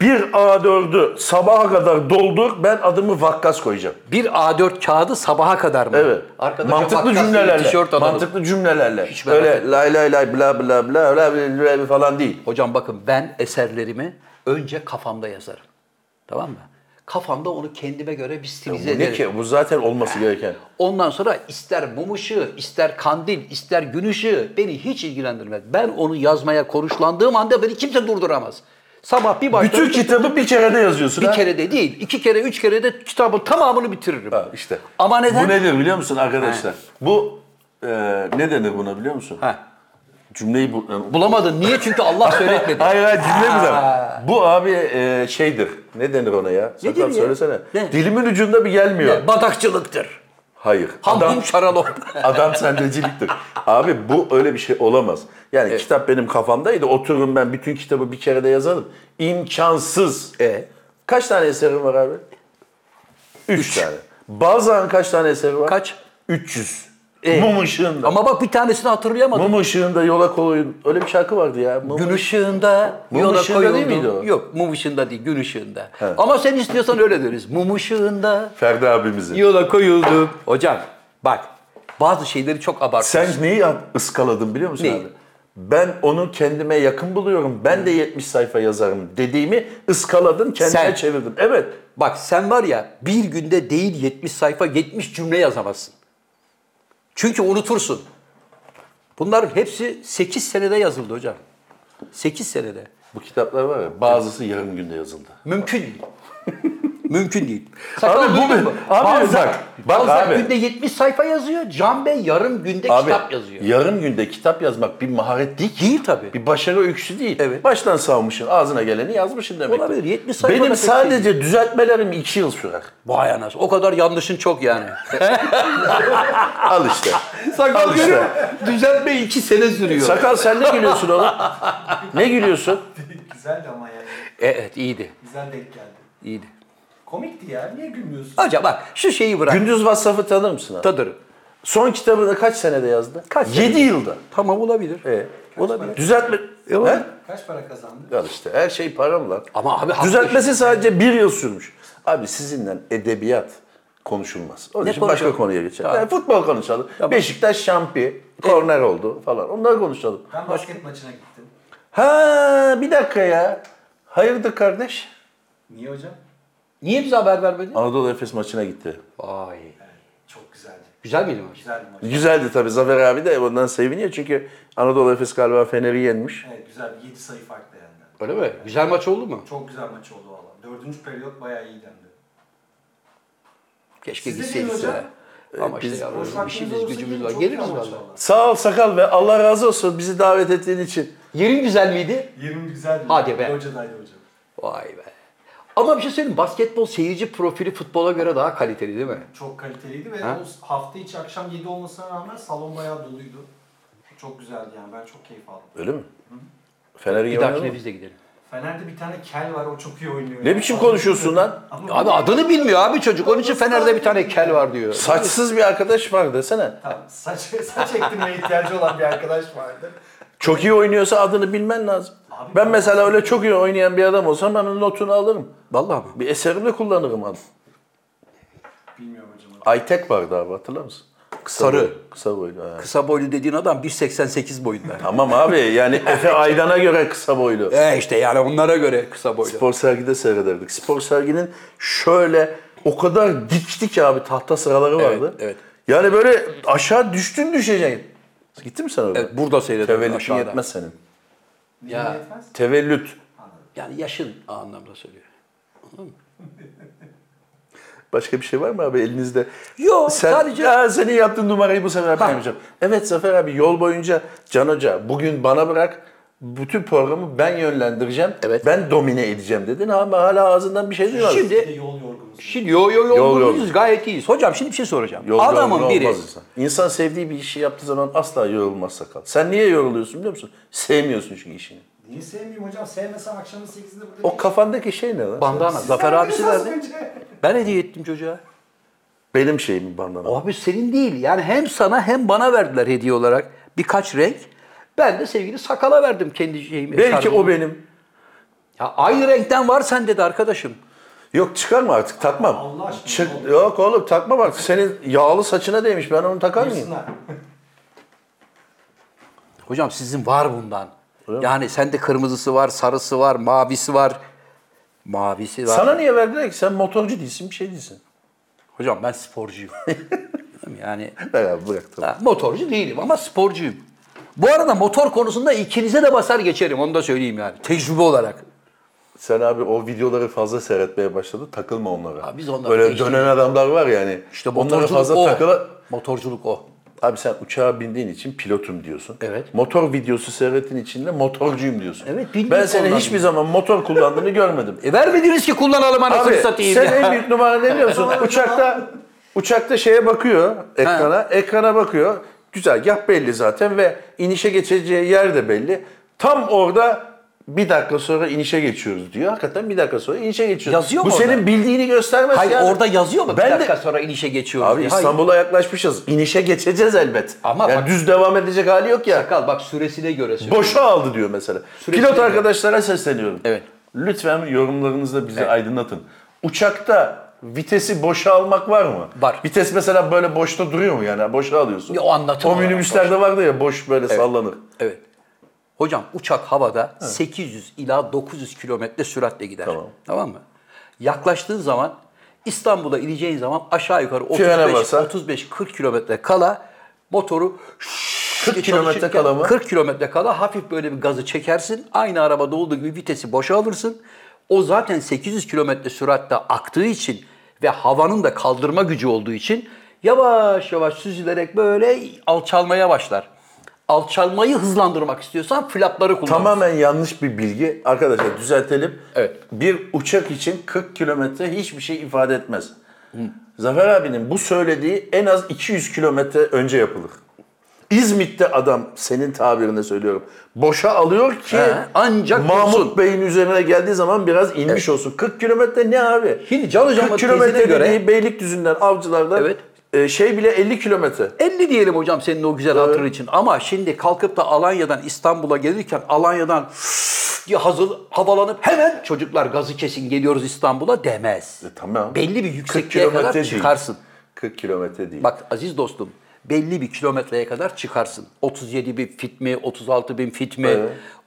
Speaker 2: Bir A4'ü sabaha kadar doldur. Ben adımı vakkas koyacağım.
Speaker 3: Bir A4 kağıdı sabaha kadar mı?
Speaker 2: Evet.
Speaker 3: Arkadaşa
Speaker 2: mantıklı
Speaker 3: bakkasıyla
Speaker 2: cümlelerle.
Speaker 3: Tişört alalım.
Speaker 2: mantıklı cümlelerle.
Speaker 3: Hiç merak
Speaker 2: Öyle lay lay lay bla bla bla bla bla bla falan değil.
Speaker 3: Hocam bakın ben eserlerimi önce kafamda yazarım. Tamam mı? Kafamda onu kendime göre bir stilize
Speaker 2: Bu ne
Speaker 3: ederim.
Speaker 2: ki? Bu zaten olması gereken.
Speaker 3: Ondan sonra ister mum ışığı, ister kandil, ister gün ışığı beni hiç ilgilendirmez. Ben onu yazmaya konuşlandığım anda beni kimse durduramaz. Sabah bir başlarım.
Speaker 2: Bütün kitabı bir kerede yazıyorsun
Speaker 3: Bir
Speaker 2: ha.
Speaker 3: kere de değil, iki kere, üç kere de kitabın tamamını bitiririm.
Speaker 2: Ha, işte.
Speaker 3: Ama neden?
Speaker 2: Bu nedir biliyor musun arkadaşlar? Bu e, ne denir buna biliyor musun?
Speaker 3: Ha.
Speaker 2: Cümleyi bu, e,
Speaker 3: Bulamadın. Niye? Çünkü Allah söyletmedi.
Speaker 2: Hayır hayır cümle güzel. Bu abi e, şeydir. Ne denir ona ya?
Speaker 3: Nedir
Speaker 2: Sakal
Speaker 3: ya?
Speaker 2: söylesene.
Speaker 3: Ne?
Speaker 2: Dilimin ucunda bir gelmiyor.
Speaker 3: Badakçılıktır.
Speaker 2: Hayır.
Speaker 3: Hamdum şaralom.
Speaker 2: Adam sendeciliktir. Abi bu öyle bir şey olamaz. Yani kitap benim kafamdaydı. Otururum ben bütün kitabı bir kerede yazarım. İmkansız.
Speaker 3: E?
Speaker 2: Kaç tane eserim var abi? Üç, tane. Bazen kaç tane eseri var?
Speaker 3: Kaç? E?
Speaker 2: 300. Mum ışığında.
Speaker 3: Ama bak bir tanesini hatırlayamadım.
Speaker 2: Mum ışığında yola koyun. Öyle bir şarkı vardı ya. Mum...
Speaker 3: Gün ışığında
Speaker 2: Mum
Speaker 3: yola
Speaker 2: ışığında
Speaker 3: koyuldum.
Speaker 2: değil miydi o?
Speaker 3: Yok mum ışığında değil gün ışığında. Ama sen istiyorsan öyle deriz. Mum ışığında
Speaker 2: Ferdi abimizin.
Speaker 3: yola koyuldum. Hocam bak bazı şeyleri çok abartıyorsun.
Speaker 2: Sen neyi yap- ıskaladın biliyor musun
Speaker 3: Neyi?
Speaker 2: abi? Ben onu kendime yakın buluyorum. Ben de 70 sayfa yazarım dediğimi ıskaladın kendine
Speaker 3: Sen.
Speaker 2: çevirdin. Evet.
Speaker 3: Bak sen var ya bir günde değil 70 sayfa 70 cümle yazamazsın. Çünkü unutursun. Bunların hepsi 8 senede yazıldı hocam. 8 senede.
Speaker 2: Bu kitaplar var ya bazısı yarım günde yazıldı.
Speaker 3: Mümkün değil. Mümkün değil. Sakal
Speaker 2: Abi bu
Speaker 3: duydun
Speaker 2: bir-
Speaker 3: mu?
Speaker 2: abi
Speaker 3: Balzac-
Speaker 2: bak, bak
Speaker 3: Balzac
Speaker 2: abi.
Speaker 3: günde 70 sayfa yazıyor. Can Bey yarım günde
Speaker 2: Abi,
Speaker 3: kitap yazıyor.
Speaker 2: Yarım günde kitap yazmak bir maharet değil ki.
Speaker 3: Değil tabii.
Speaker 2: Bir başarı öyküsü değil.
Speaker 3: Evet.
Speaker 2: Baştan savmışsın, ağzına geleni yazmışsın demek.
Speaker 3: Olabilir, 70 sayfa da
Speaker 2: Benim
Speaker 3: pek
Speaker 2: sadece düzeltmelerim 2 yıl sürer.
Speaker 3: Vay anas. O kadar yanlışın çok yani.
Speaker 2: Al işte.
Speaker 3: Sakal
Speaker 2: Al işte.
Speaker 3: görüyor musun? Düzeltme 2 sene sürüyor.
Speaker 2: Sakal sen ne gülüyorsun oğlum? Ne gülüyorsun?
Speaker 4: Güzeldi ama yani.
Speaker 3: E, evet iyiydi.
Speaker 4: Güzel denk geldi.
Speaker 3: iyiydi.
Speaker 4: Komikti ya. Niye gülmüyorsun?
Speaker 3: Hocam bak şu şeyi bırak.
Speaker 2: Gündüz Vassaf'ı tanır mısın abi?
Speaker 3: Tadırım.
Speaker 2: Son kitabını kaç senede yazdı?
Speaker 3: Kaç
Speaker 2: 7
Speaker 3: senede?
Speaker 2: yılda.
Speaker 3: Tamam olabilir.
Speaker 2: E,
Speaker 4: para?
Speaker 2: olabilir. Düzeltme. He?
Speaker 4: Kaç para kazandı?
Speaker 2: Al işte her şey param lan.
Speaker 3: Ama abi haklı
Speaker 2: Düzeltmesi sadece bir yıl sürmüş. Abi sizinle edebiyat konuşulmaz. Onun
Speaker 3: Ne
Speaker 2: için başka
Speaker 3: konuşalım?
Speaker 2: konuya geçelim.
Speaker 3: Tamam.
Speaker 2: Yani futbol konuşalım. Beşiktaş şampi, korner oldu falan. Onları konuşalım.
Speaker 4: Ben basket maçına gittim.
Speaker 2: Ha bir dakika ya. Hayırdır kardeş?
Speaker 4: Niye hocam?
Speaker 3: Niye bize haber vermedin?
Speaker 2: Anadolu Efes maçına gitti.
Speaker 3: Vay.
Speaker 4: Çok güzeldi.
Speaker 3: Güzel miydi maç?
Speaker 4: Güzel bir maç.
Speaker 2: Güzeldi tabii. Zafer abi de ondan seviniyor çünkü Anadolu Efes galiba Fener'i yenmiş.
Speaker 4: Evet güzel. 7 sayı farkla yendi.
Speaker 3: Öyle mi? Güzel maç oldu mu?
Speaker 4: Çok güzel maç oldu valla. Dördüncü periyot bayağı iyi dendi.
Speaker 3: Keşke
Speaker 4: Siz de
Speaker 3: gitseydik
Speaker 4: değil hocam.
Speaker 3: ya. Ama
Speaker 2: biz-
Speaker 3: işte yavrum,
Speaker 4: Boş vaktiniz
Speaker 3: işimiz
Speaker 4: olursa
Speaker 3: gücümüz
Speaker 4: gelin,
Speaker 3: var.
Speaker 4: çok
Speaker 3: Geliriz
Speaker 4: güzel maç
Speaker 3: valla.
Speaker 4: valla.
Speaker 2: Sağ ol Sakal ve Allah razı olsun bizi davet ettiğin için.
Speaker 3: Yerin güzel miydi?
Speaker 4: 20 güzeldi.
Speaker 3: Hadi be.
Speaker 4: Hocadaydı hocam.
Speaker 3: Vay be. Ama bir şey söyleyeyim basketbol seyirci profili futbola göre daha kaliteli değil mi?
Speaker 4: Çok kaliteliydi ve
Speaker 3: Ha?
Speaker 4: o hafta içi akşam 7 olmasına rağmen salon bayağı doluydu. Çok güzeldi yani ben çok keyif aldım.
Speaker 2: Öyle mi? Fener'i
Speaker 3: Bir dahakine
Speaker 2: yenmiyor
Speaker 3: biz de gidelim.
Speaker 4: Fener'de bir tane kel var o çok iyi oynuyor.
Speaker 2: Ne biçim konuşuyorsun lan?
Speaker 3: Abi adını bilmiyor abi çocuk. Onun için Fener'de bir tane kel var diyor.
Speaker 2: Saçsız bir arkadaş var desene.
Speaker 4: Tamam, saç, saç ektirmeye ihtiyacı olan bir arkadaş vardı.
Speaker 2: Çok iyi oynuyorsa adını bilmen lazım.
Speaker 4: Abi-
Speaker 2: ben mesela öyle çok iyi oynayan bir adam olsam ben onun notunu alırım.
Speaker 3: Vallahi mı?
Speaker 2: Bir eserimde kullanırım adı.
Speaker 4: Bilmiyorum hocam.
Speaker 2: Aytek vardı abi hatırlar mısın? Kısa
Speaker 3: Sarı.
Speaker 2: boylu, kısa boylu. ha.
Speaker 3: Kısa boylu dediğin adam 1.88 boyunda.
Speaker 2: Tamam abi yani Efe Aydan'a göre kısa boylu.
Speaker 3: e işte yani onlara göre kısa boylu.
Speaker 2: Spor sergide seyrederdik. Spor serginin şöyle o kadar dikti ki abi tahta sıraları
Speaker 3: Evet,
Speaker 2: vardı.
Speaker 3: evet.
Speaker 2: Yani böyle aşağı düştün düşeceksin. Gitti mi sen orada?
Speaker 3: Evet, burada seyrediyordum
Speaker 2: Tevellütün
Speaker 3: aşağıda.
Speaker 2: yetmez senin.
Speaker 4: Niye
Speaker 3: Ya.
Speaker 4: yetmez?
Speaker 2: Tevellüt.
Speaker 3: Yani yaşın anlamda söylüyor.
Speaker 2: Başka bir şey var mı abi elinizde?
Speaker 3: Yok,
Speaker 2: Sen,
Speaker 3: sadece-
Speaker 2: Ya senin yaptığın numarayı bu sefer ben
Speaker 3: Ha.
Speaker 2: yapacağım. Evet Zafer abi yol boyunca Can Hoca bugün bana bırak bütün programı ben yönlendireceğim.
Speaker 3: Evet.
Speaker 2: Ben domine edeceğim dedin ama hala ağzından bir şey duymadım.
Speaker 3: Şimdi-
Speaker 4: Bir de yol yorgunusun.
Speaker 3: Şimdi yo yo yo,
Speaker 2: Yo, yo.
Speaker 3: mutluyuz, gayet iyiyiz. Hocam şimdi bir şey soracağım.
Speaker 2: Yol yorgun
Speaker 3: Adamın biri
Speaker 2: olmaz insan. İnsan sevdiği bir işi yaptığı zaman asla yorulmaz sakal. Sen niye yoruluyorsun biliyor musun? Sevmiyorsun çünkü işini.
Speaker 4: Niye sevmeyeyim hocam? Sevmesem akşamın 8'inde burada
Speaker 2: O şey kafandaki şey ne lan?
Speaker 3: bandana
Speaker 4: Siz
Speaker 3: Zafer abisi
Speaker 4: verdiniz az
Speaker 3: verdi.
Speaker 4: önce.
Speaker 3: Ben hediye ettim çocuğa.
Speaker 2: Benim şeyim bandana.
Speaker 3: Abi senin değil. Yani hem sana hem bana verdiler hediye olarak birkaç renk. Ben de sevgili sakala verdim kendi şeyimi.
Speaker 2: Belki
Speaker 3: şarjımı.
Speaker 2: o benim.
Speaker 3: Ya aynı renkten var sende de arkadaşım.
Speaker 2: Yok çıkarma artık takmam.
Speaker 4: Allah aşkına
Speaker 2: Çık,
Speaker 4: oğlum.
Speaker 2: yok oğlum takmam artık. Senin yağlı saçına değmiş ben onu takar mıyım?
Speaker 4: Yırtsınlar.
Speaker 3: Hocam sizin var bundan. Yani sende kırmızısı var, sarısı var, mavisi var. Mavisi var.
Speaker 2: Sana niye verdiler ki? Sen motorcu değilsin bir şey değilsin.
Speaker 3: Hocam ben sporcuyum. yani
Speaker 2: Ver abi bırak tamam.
Speaker 3: ha, motorcu değilim ama sporcuyum. Bu arada motor konusunda ikinize de basar geçerim onu da söyleyeyim yani. Tecrübe olarak.
Speaker 2: Sen abi o videoları fazla seyretmeye başladı. Takılma onlara.
Speaker 3: Abi biz onları
Speaker 2: Öyle
Speaker 3: değiştirdik.
Speaker 2: dönen adamlar var yani.
Speaker 3: İşte
Speaker 2: onlara
Speaker 3: motorculuk
Speaker 2: fazla
Speaker 3: o.
Speaker 2: takıla...
Speaker 3: Motorculuk o.
Speaker 2: Abi sen uçağa bindiğin için pilotum diyorsun.
Speaker 3: Evet.
Speaker 2: Motor videosu seyrettiğin için de motorcuyum diyorsun.
Speaker 3: Evet, bilmiyorum
Speaker 2: Ben seni
Speaker 3: ondan.
Speaker 2: hiçbir zaman motor kullandığını görmedim.
Speaker 3: E vermediniz ki kullanalım anasını
Speaker 2: Abi
Speaker 3: satayım
Speaker 2: sen
Speaker 3: ya.
Speaker 2: en büyük numara ne biliyorsun? uçakta uçakta şeye bakıyor ekrana. Ekrana bakıyor. Güzergah belli zaten ve inişe geçeceği yer de belli. Tam orada bir dakika sonra inişe geçiyoruz diyor. Hakikaten bir dakika sonra inişe geçiyoruz.
Speaker 3: Yazıyor
Speaker 2: Bu
Speaker 3: mu
Speaker 2: senin
Speaker 3: orada?
Speaker 2: bildiğini göstermez
Speaker 3: Hayır
Speaker 2: yani.
Speaker 3: orada yazıyor mu?
Speaker 2: Ben
Speaker 3: bir
Speaker 2: de-
Speaker 3: dakika sonra inişe geçiyoruz.
Speaker 2: Abi
Speaker 3: diye.
Speaker 2: İstanbul'a yaklaşmışız. İnişe geçeceğiz elbet.
Speaker 3: Ama
Speaker 2: yani
Speaker 3: bak-
Speaker 2: düz devam edecek hali yok ya.
Speaker 3: Hayır. Sakal bak süresine göre söylüyorum.
Speaker 2: Boşa aldı diyor mesela.
Speaker 3: Sürekli
Speaker 2: Pilot
Speaker 3: mi?
Speaker 2: arkadaşlara sesleniyorum.
Speaker 3: Evet.
Speaker 2: Lütfen yorumlarınızla bizi aydınlatın. Uçakta vitesi boşa almak var mı?
Speaker 3: Var.
Speaker 2: Vites mesela böyle boşta duruyor mu yani? Boşa alıyorsun.
Speaker 3: Ya o anlatım
Speaker 2: O
Speaker 3: olarak
Speaker 2: minibüslerde vardı ya boş böyle sallanır.
Speaker 3: Evet. Hocam uçak havada 800 ila 900 kilometre süratle gider.
Speaker 2: Tamam.
Speaker 3: mı? Yaklaştığın zaman İstanbul'a ineceğin zaman aşağı yukarı
Speaker 2: Frene
Speaker 3: 35
Speaker 2: basa.
Speaker 3: 35 40 kilometre kala motoru şşş
Speaker 2: 40
Speaker 3: diye
Speaker 2: kilometre
Speaker 3: çalışırken
Speaker 2: kala mı?
Speaker 3: 40 kilometre kala hafif böyle bir gazı çekersin. Aynı arabada olduğu gibi vitesi boşa alırsın. O zaten 800 kilometre süratte aktığı için ve havanın da kaldırma gücü olduğu için yavaş yavaş süzülerek böyle alçalmaya başlar. Alçalmayı hızlandırmak istiyorsan flapları kullan.
Speaker 2: Tamamen yanlış bir bilgi. Arkadaşlar düzeltelim.
Speaker 3: Evet.
Speaker 2: Bir uçak için 40 kilometre hiçbir şey ifade etmez. Zafer abinin bu söylediği en az 200 kilometre önce yapılır. İzmit'te adam senin tabirinde söylüyorum. Boşa alıyor ki
Speaker 3: He, ancak
Speaker 2: Mahmut
Speaker 3: dursun.
Speaker 2: Bey'in üzerine geldiği zaman biraz inmiş olsun. 40 kilometre ne abi?
Speaker 3: Şimdi Can Hocam'ın
Speaker 2: 40
Speaker 3: tezine
Speaker 2: kilometre
Speaker 3: göre-
Speaker 2: dediği Beylikdüzü'nden avcılardan
Speaker 3: Evet.
Speaker 2: e, şey bile 50 kilometre.
Speaker 3: 50 diyelim hocam senin o güzel hatırın için. Ama şimdi kalkıp da Alanya'dan İstanbul'a gelirken Alanya'dan diye hazır havalanıp hemen çocuklar gazı kesin geliyoruz İstanbul'a demez.
Speaker 2: E, tamam.
Speaker 3: Belli bir
Speaker 2: 40
Speaker 3: yüksekliğe
Speaker 2: kilometre
Speaker 3: kadar
Speaker 2: değil.
Speaker 3: çıkarsın.
Speaker 2: 40 kilometre değil.
Speaker 3: Bak aziz dostum belli bir kilometreye kadar çıkarsın. 37 bin fit mi, 36 bin fit mi,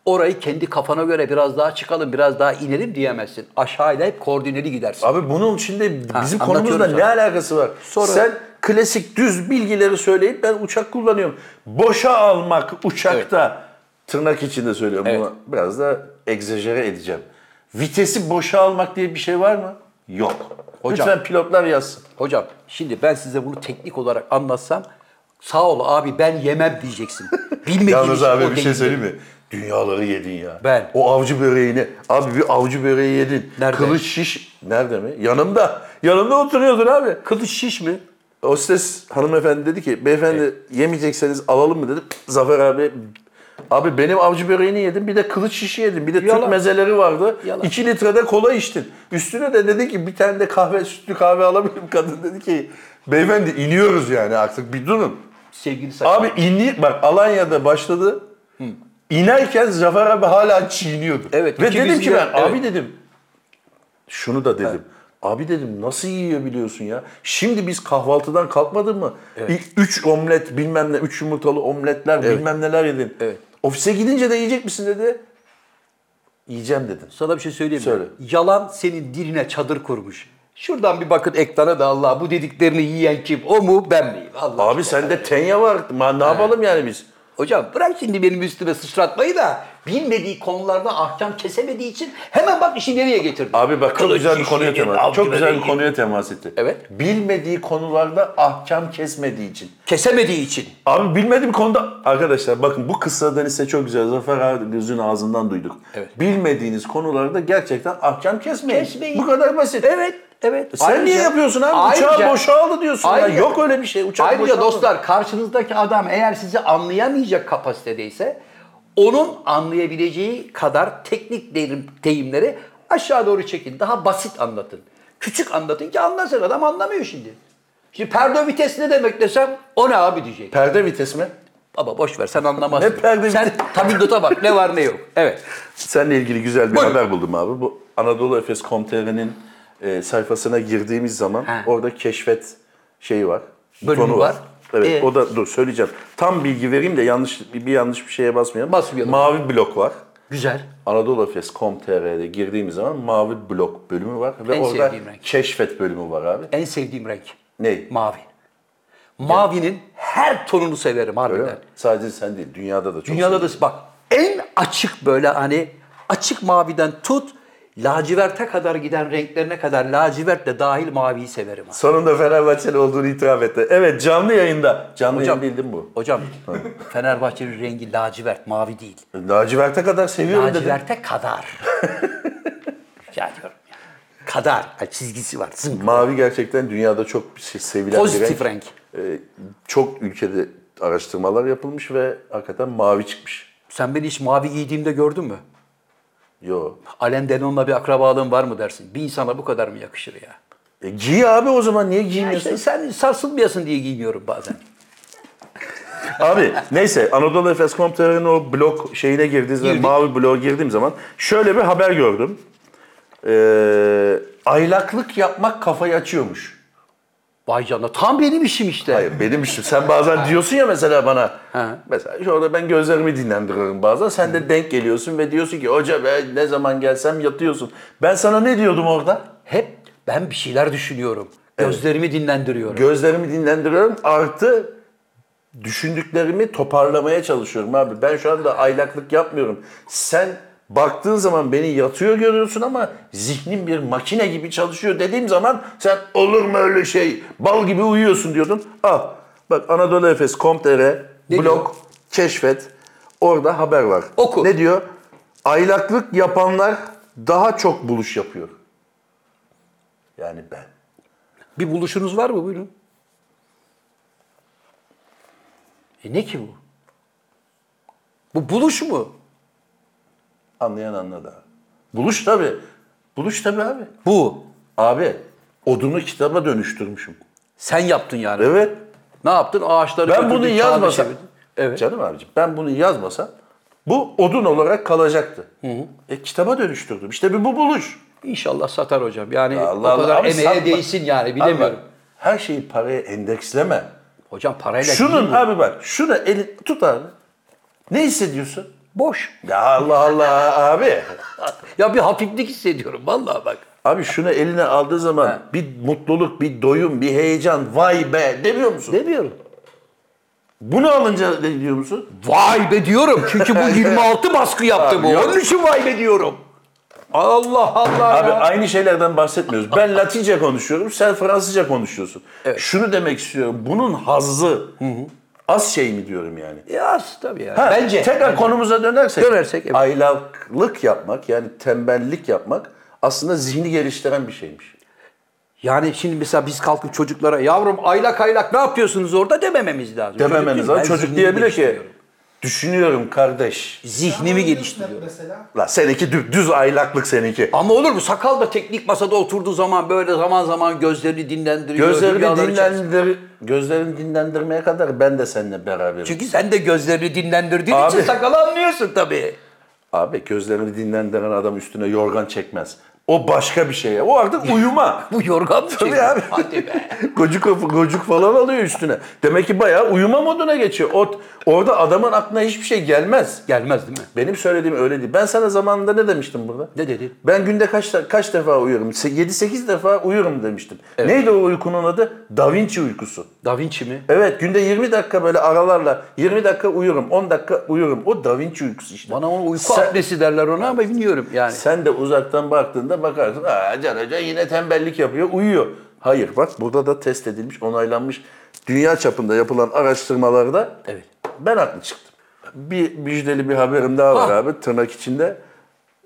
Speaker 3: Orayı kendi kafana göre biraz daha çıkalım, biraz daha inelim diyemezsin. Aşağıda hep koordineli gidersin.
Speaker 2: Abi bunun içinde
Speaker 3: Ha,
Speaker 2: bizim
Speaker 3: anlatıyorum
Speaker 2: konumuzla ne
Speaker 3: sana.
Speaker 2: alakası var?
Speaker 3: Sonra-
Speaker 2: Sen klasik düz bilgileri söyleyip ben uçak kullanıyorum. Boşa almak uçakta tırnak içinde söylüyorum
Speaker 3: Evet.
Speaker 2: bunu biraz da egzajere edeceğim. Vitesi boşa almak diye bir şey var mı? Yok.
Speaker 3: Hocam-
Speaker 2: Lütfen pilotlar yazsın.
Speaker 3: Hocam şimdi ben size bunu teknik olarak anlatsam sağ ol abi ben yemem diyeceksin. Bilmediğim
Speaker 2: Yalnız
Speaker 3: için o
Speaker 2: abi bir şey
Speaker 3: değil.
Speaker 2: söyleyeyim mi? Dünyaları yedin ya.
Speaker 3: Ben.
Speaker 2: O avcı böreğini. Abi bir avcı böreği yedin.
Speaker 3: Nerede?
Speaker 2: Kılıç şiş. Nerede mi? Yanımda. Yanımda oturuyordun abi.
Speaker 3: Kılıç şiş mi?
Speaker 2: Hostes hanımefendi dedi ki beyefendi yemeyecekseniz alalım mı dedim. Zafer abi abi benim avcı böreğini yedim bir de kılıç şişi yedim bir de
Speaker 3: Yalan.
Speaker 2: Türk mezeleri vardı.
Speaker 3: Yalan.
Speaker 2: 2 litrede kola içtin. Üstüne de dedi ki bir tane de kahve sütlü kahve alabilirim. Kadın dedi ki beyefendi iniyoruz yani artık bir durun.
Speaker 3: Sevgili saçma.
Speaker 2: Abi inni bak Alanya'da başladı. İnerken Zafer abi hala çiğniyordu.
Speaker 3: Evet,
Speaker 2: Ve
Speaker 3: iki
Speaker 2: dedim ki
Speaker 3: bizimle-
Speaker 2: ben abi
Speaker 3: evet.
Speaker 2: dedim şunu da dedim. Abi dedim nasıl yiyor biliyorsun ya? Şimdi biz kahvaltıdan kalkmadın mı? İlk 3 omlet bilmem ne, 3 yumurtalı omletler bilmem neler yedin.
Speaker 3: Evet.
Speaker 2: Ofise gidince de yiyecek misin dedi. Yiyeceğim dedim.
Speaker 3: Sana bir şey söyleyeyim mi?
Speaker 2: Söyle.
Speaker 3: Yalan senin diline çadır kurmuş. Şuradan bir bakın ekrana da Allah bu dediklerini yiyen kim? O mu ben miyim? Allah
Speaker 2: Abi
Speaker 3: şey.
Speaker 2: sende tenya var. Ma- Ne yapalım yani biz?
Speaker 3: Hocam bırak şimdi benim üstüme sıçratmayı da bilmediği konularda ahkam kesemediği için hemen bak işi nereye getirdi.
Speaker 2: Abi bak çok
Speaker 3: Kılıç
Speaker 2: güzel bir konuya
Speaker 3: işini,
Speaker 2: temas.
Speaker 3: avcı
Speaker 2: Çok güzel bir
Speaker 3: böreği.
Speaker 2: konuya temas etti.
Speaker 3: Evet.
Speaker 2: Bilmediği konularda ahkam kesmediği için.
Speaker 3: Kesemediği için.
Speaker 2: Abi bilmediğim konuda arkadaşlar bakın bu kıssadan size çok güzel Zafer abi gözün ağzından duyduk.
Speaker 3: Evet.
Speaker 2: Bilmediğiniz konularda gerçekten ahkam kesmeyin.
Speaker 3: Kesmeyin.
Speaker 2: Bu kadar basit.
Speaker 3: Evet, evet.
Speaker 2: Sen
Speaker 3: Ayrıca-
Speaker 2: niye yapıyorsun abi? Uçağı
Speaker 3: Ayrıca-
Speaker 2: boşaldı diyorsun. ya.
Speaker 3: Ayrıca-
Speaker 2: Yok öyle bir şey. Uçak
Speaker 3: Ayrıca
Speaker 2: boşaldı.
Speaker 3: dostlar karşınızdaki adam eğer sizi anlayamayacak kapasitedeyse onun anlayabileceği kadar teknik deyim, deyimleri aşağı doğru çekin. Daha basit anlatın. Küçük anlatın ki anlasın adam anlamıyor şimdi. Şimdi perde vites ne demek desem o ne abi diyecek.
Speaker 2: Perde vites mi?
Speaker 3: Baba boş ver sen anlamazsın.
Speaker 2: Ne perde vites?
Speaker 3: sen tabildota bak ne var ne yok. Evet.
Speaker 2: Seninle ilgili güzel bir
Speaker 3: Buyurun.
Speaker 2: haber buldum abi. Bu Anadolu Efes.com.tr'nin e, sayfasına girdiğimiz zaman
Speaker 3: Ha.
Speaker 2: orada keşfet şeyi var.
Speaker 3: Bölümü
Speaker 2: butonu
Speaker 3: var.
Speaker 2: Evet
Speaker 3: Ee?
Speaker 2: o da dur söyleyeceğim. Tam bilgi vereyim de yanlış bir, bir yanlış bir şeye basmayalım.
Speaker 3: Basmayalım.
Speaker 2: Mavi blok var.
Speaker 3: Güzel.
Speaker 2: AnadoluEfes.com.tr'de girdiğimiz zaman mavi blok bölümü var ve
Speaker 3: En
Speaker 2: orada
Speaker 3: sevdiğim renk.
Speaker 2: keşfet bölümü var abi.
Speaker 3: En sevdiğim renk
Speaker 2: Ney?
Speaker 3: mavi. Mavinin her tonunu severim harbiden.
Speaker 2: Öyle mi? Sadece sen değil dünyada da çok
Speaker 3: Dünyada da
Speaker 2: seviyorum.
Speaker 3: bak en açık böyle hani açık maviden tut laciverte kadar giden renklerine kadar lacivert de dahil maviyi severim. abi.
Speaker 2: Sonunda Fenerbahçeli olduğunu itiraf etti. Evet canlı yayında. Canlı
Speaker 3: Hocam-
Speaker 2: yayın bildim bu.
Speaker 3: Hocam Fenerbahçe'nin rengi lacivert mavi değil.
Speaker 2: Laciverte kadar seviyorum dedim.
Speaker 3: Laciverte kadar. Rica ediyorum ya. Kadar. Ha, çizgisi var. Zınk.
Speaker 2: Mavi gerçekten dünyada çok se- sevilen
Speaker 3: Pozitif
Speaker 2: bir renk.
Speaker 3: renk.
Speaker 2: Ee, çok ülkede araştırmalar yapılmış ve hakikaten mavi çıkmış.
Speaker 3: Sen beni hiç mavi giydiğimde gördün mü?
Speaker 2: Yo.
Speaker 3: Alen Denon'la bir akrabalığın var mı dersin? Bir insana bu kadar mı yakışır ya?
Speaker 2: E, giy abi o zaman niye
Speaker 3: Ya
Speaker 2: giymiyorsun?
Speaker 3: işte sen sarsılmayasın diye giymiyorum bazen.
Speaker 2: Abi neyse Anadolu Efes Komutanı'nın o blok şeyine girdiğiniz zaman,
Speaker 3: Girdik.
Speaker 2: mavi bloğa girdiğim zaman şöyle bir haber gördüm. Ee, aylaklık yapmak kafayı açıyormuş.
Speaker 3: Vay canına tam benim işim işte.
Speaker 2: Hayır benim işim. Sen bazen diyorsun ya mesela bana.
Speaker 3: Ha.
Speaker 2: Mesela şurada ben gözlerimi dinlendiririm bazen. Sen de denk geliyorsun ve diyorsun ki hoca ben ne zaman gelsem yatıyorsun. Ben sana ne diyordum orada?
Speaker 3: Hep ben bir şeyler düşünüyorum. Gözlerimi dinlendiriyorum.
Speaker 2: Gözlerimi dinlendiriyorum artı düşündüklerimi toparlamaya çalışıyorum abi. Ben şu anda aylaklık yapmıyorum. Sen baktığın zaman beni yatıyor görüyorsun ama zihnim bir makine gibi çalışıyor dediğim zaman sen olur mu öyle şey bal gibi uyuyorsun diyordun. Al bak Anadolu Efes Komtere
Speaker 3: Ne
Speaker 2: blog
Speaker 3: diyor?
Speaker 2: keşfet orada haber var.
Speaker 3: Oku.
Speaker 2: Ne diyor? Aylaklık yapanlar daha çok buluş yapıyor. Yani ben.
Speaker 3: bir buluşunuz var mı? Buyurun. E ne ki bu? Bu buluş mu?
Speaker 2: Anlayan anladı abi. Buluş tabi. Buluş tabi abi.
Speaker 3: Bu.
Speaker 2: Abi odunu kitaba dönüştürmüşüm.
Speaker 3: Sen yaptın yani.
Speaker 2: Evet.
Speaker 3: Ne yaptın? Ağaçları
Speaker 2: Ben
Speaker 3: götürdün,
Speaker 2: bunu
Speaker 3: kağıda
Speaker 2: yazmasam.
Speaker 3: çevirdin. Evet.
Speaker 2: Canım abicim ben bunu yazmasam bu odun olarak kalacaktı. E kitaba dönüştürdüm. İşte bir bu buluş.
Speaker 3: İnşallah satar hocam. Yani
Speaker 2: Allah
Speaker 3: o kadar
Speaker 2: Allah. Abi
Speaker 3: emeğe
Speaker 2: satma.
Speaker 3: değsin yani bilemiyorum.
Speaker 2: Abi bak, her şeyi paraya endeksleme.
Speaker 3: Hocam parayla
Speaker 2: Şunun
Speaker 3: değil bu.
Speaker 2: abi bak şunu eli tut abi. Ne hissediyorsun?
Speaker 3: Boş.
Speaker 2: Ya Allah Allah abi.
Speaker 3: Ya bir hafiflik hissediyorum vallahi bak.
Speaker 2: Abi şunu eline aldığı zaman bir mutluluk, bir doyum, bir heyecan. Vay be demiyor musun?
Speaker 3: Demiyorum.
Speaker 2: Bunu alınca ne diyor musun?
Speaker 3: Vay be diyorum çünkü bu 26 baskı yaptı bu.
Speaker 2: Abi yok.
Speaker 3: Onun için vay be diyorum. Allah Allah
Speaker 2: Abi
Speaker 3: ya.
Speaker 2: aynı şeylerden bahsetmiyoruz. Ben Latince konuşuyorum, sen Fransızca konuşuyorsun. Şunu demek istiyorum. Bunun hazzı az şey mi diyorum yani?
Speaker 3: Yaz tabii yani.
Speaker 2: Ha,
Speaker 3: Bence.
Speaker 2: Tekrar konumuza dönersek.
Speaker 3: Dönersek, evet.
Speaker 2: Aylaklık yapmak yani tembellik yapmak aslında zihni geliştiren bir şeymiş.
Speaker 3: Yani şimdi mesela biz kalkıp çocuklara yavrum aylak aylak ne yapıyorsunuz orada demememiz lazım.
Speaker 2: Dememeniz lazım.
Speaker 3: diyor, ben
Speaker 2: Çocuk
Speaker 3: zihnimi
Speaker 2: diyebilir ki
Speaker 3: geliştiriyorum.
Speaker 2: düşünüyorum kardeş.
Speaker 3: Zihnimi geliştiriyorum.
Speaker 4: Mesela
Speaker 2: La seninki düz, düz aylaklık seninki.
Speaker 3: Ama olur mu? Sakal da teknik masada oturduğu zaman böyle zaman zaman gözlerini dinlendiriyor.
Speaker 2: Gözlerini
Speaker 3: rüyaları içerisinde.
Speaker 2: dinlendir, gözlerini dinlendirmeye kadar ben de seninle beraberim.
Speaker 3: Çünkü sen de gözlerini dinlendirdiğin
Speaker 2: Abi.
Speaker 3: için sakalı anlıyorsun tabii.
Speaker 2: Abi gözlerini dinlendiren adam üstüne yorgan çekmez. O başka bir şey. O artık uyuma.
Speaker 3: Bu yorgan mı?
Speaker 2: Tabii abi.
Speaker 3: Hadi be.
Speaker 2: gocuk, gocuk falan alıyor üstüne. Demek ki bayağı uyuma moduna geçiyor. O, orada adamın aklına hiçbir şey gelmez.
Speaker 3: Gelmez değil mi?
Speaker 2: Benim söylediğim öyle değil. Ben sana zamanında ne demiştim burada?
Speaker 3: Ne dedin?
Speaker 2: Ben günde kaç de- kaç defa uyuyorum? 7-8 defa uyurum demiştim. Neydi o uykunun adı? Da Vinci uykusu.
Speaker 3: Da Vinci mi?
Speaker 2: Evet günde 20 dakika böyle aralarla 20 dakika uyurum, 10 dakika uyurum. O Da Vinci uykusu işte.
Speaker 3: Bana onu uyku
Speaker 2: Sen-
Speaker 3: apnesi derler ona ama bilmiyorum yani.
Speaker 2: Sen de uzaktan baktığında bakarsın Aa, Can Hoca yine tembellik yapıyor, uyuyor. Hayır bak burada da test edilmiş, onaylanmış. Dünya çapında yapılan araştırmalarda
Speaker 3: Evet.
Speaker 2: ben haklı çıktım. Bir müjdeli bir haberim daha var
Speaker 3: Ha.
Speaker 2: abi tırnak içinde.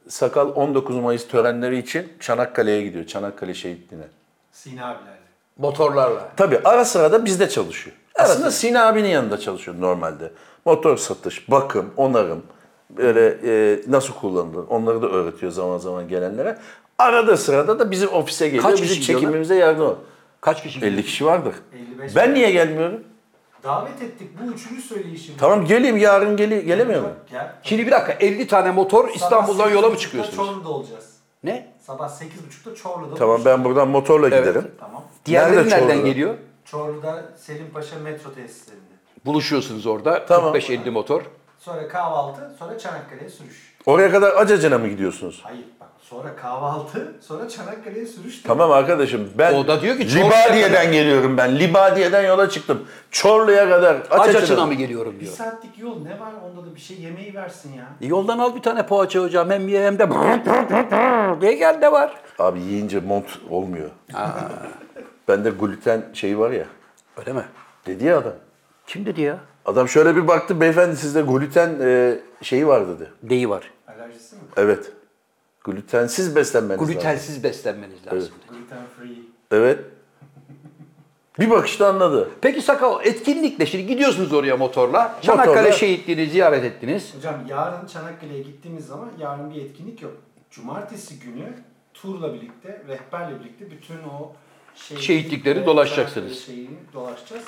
Speaker 2: Sakal 19 Mayıs törenleri için Çanakkale'ye gidiyor. Çanakkale şehitliğine.
Speaker 4: Sina abilerle.
Speaker 3: Motorlarla.
Speaker 2: Tabii ara sıra da bizde çalışıyor. Aslında Sina abinin yanında çalışıyor normalde. Motor satış, bakım, onarım, böyle e, nasıl kullanılır onları da öğretiyor zaman zaman gelenlere. Arada sırada da bizim ofise geliyor,
Speaker 3: Kaç
Speaker 2: bizim
Speaker 3: kişi geliyorlar?
Speaker 2: çekimimize yardım ediyor.
Speaker 3: Kaç kişi?
Speaker 2: 50 kişi vardır.
Speaker 4: 55
Speaker 2: ben niye gelmiyorum?
Speaker 4: Davet ettik bu üçünü söyleyişim.
Speaker 2: Tamam geleyim yarın gele gelemiyorum.
Speaker 4: Gel.
Speaker 3: Şimdi bir dakika 50 tane motor İstanbul'dan yola mı çıkıyorsunuz?
Speaker 4: Çorlu'da olacağız.
Speaker 3: Ne?
Speaker 4: Sabah 8.30'da Çorlu'da
Speaker 2: Tamam
Speaker 4: buluşacağız.
Speaker 2: ben buradan motorla giderim.
Speaker 4: Tamam.
Speaker 3: Diğerleri
Speaker 2: Nerede
Speaker 3: nereden
Speaker 2: Çorlu'da?
Speaker 3: geliyor?
Speaker 4: Çorlu'da Selim Paşa metro tesislerinde.
Speaker 3: Buluşuyorsunuz orada.
Speaker 2: Tamam.
Speaker 3: 45-50 motor.
Speaker 4: Sonra kahvaltı, sonra Çanakkale'ye sürüş.
Speaker 2: Oraya kadar acacına mı gidiyorsunuz?
Speaker 4: Hayır bak sonra kahvaltı, sonra Çanakkale'ye sürüş. de-
Speaker 2: Tamam arkadaşım ben
Speaker 3: O da diyor ki, Çorlu'ya
Speaker 2: Libadiye'den geliyorum ben. Libadiye'den yola çıktım. Çorlu'ya kadar
Speaker 3: Acacına mı geliyorum
Speaker 4: Bir
Speaker 3: diyor. E,
Speaker 4: saatlik yol ne var onda da bir şey yemeği versin ya.
Speaker 3: Yoldan al bir tane poğaça hocam hem ye hem de diye gel de var.
Speaker 2: Abi yiyince mont olmuyor. Bende gluten şeyi var ya.
Speaker 3: Öyle mi?
Speaker 2: Dedi ya adam.
Speaker 3: Kim dedi ya?
Speaker 2: Adam şöyle bir baktı beyefendi sizde gluten e, şeyi var dedi.
Speaker 3: Deyi var.
Speaker 4: Alerjisi mi?
Speaker 2: Evet. Glutensiz beslenmeniz lazım.
Speaker 3: Glutensiz beslenmeniz lazım.
Speaker 4: Gluten free.
Speaker 2: Evet. Bir bakışta anladı.
Speaker 3: Peki sakal etkinlikle şimdi gidiyorsunuz oraya motorla. Çanakkale
Speaker 2: Motorla.
Speaker 3: şehitliğini ziyaret ettiniz.
Speaker 4: Hocam yarın Çanakkale'ye gittiğimiz zaman yarın bir etkinlik yok. Cumartesi günü turla birlikte, rehberle birlikte bütün o
Speaker 3: Şehitlikleri
Speaker 4: ve
Speaker 3: dolaşacaksınız.
Speaker 4: Çanakkale Şeyini dolaşacağız.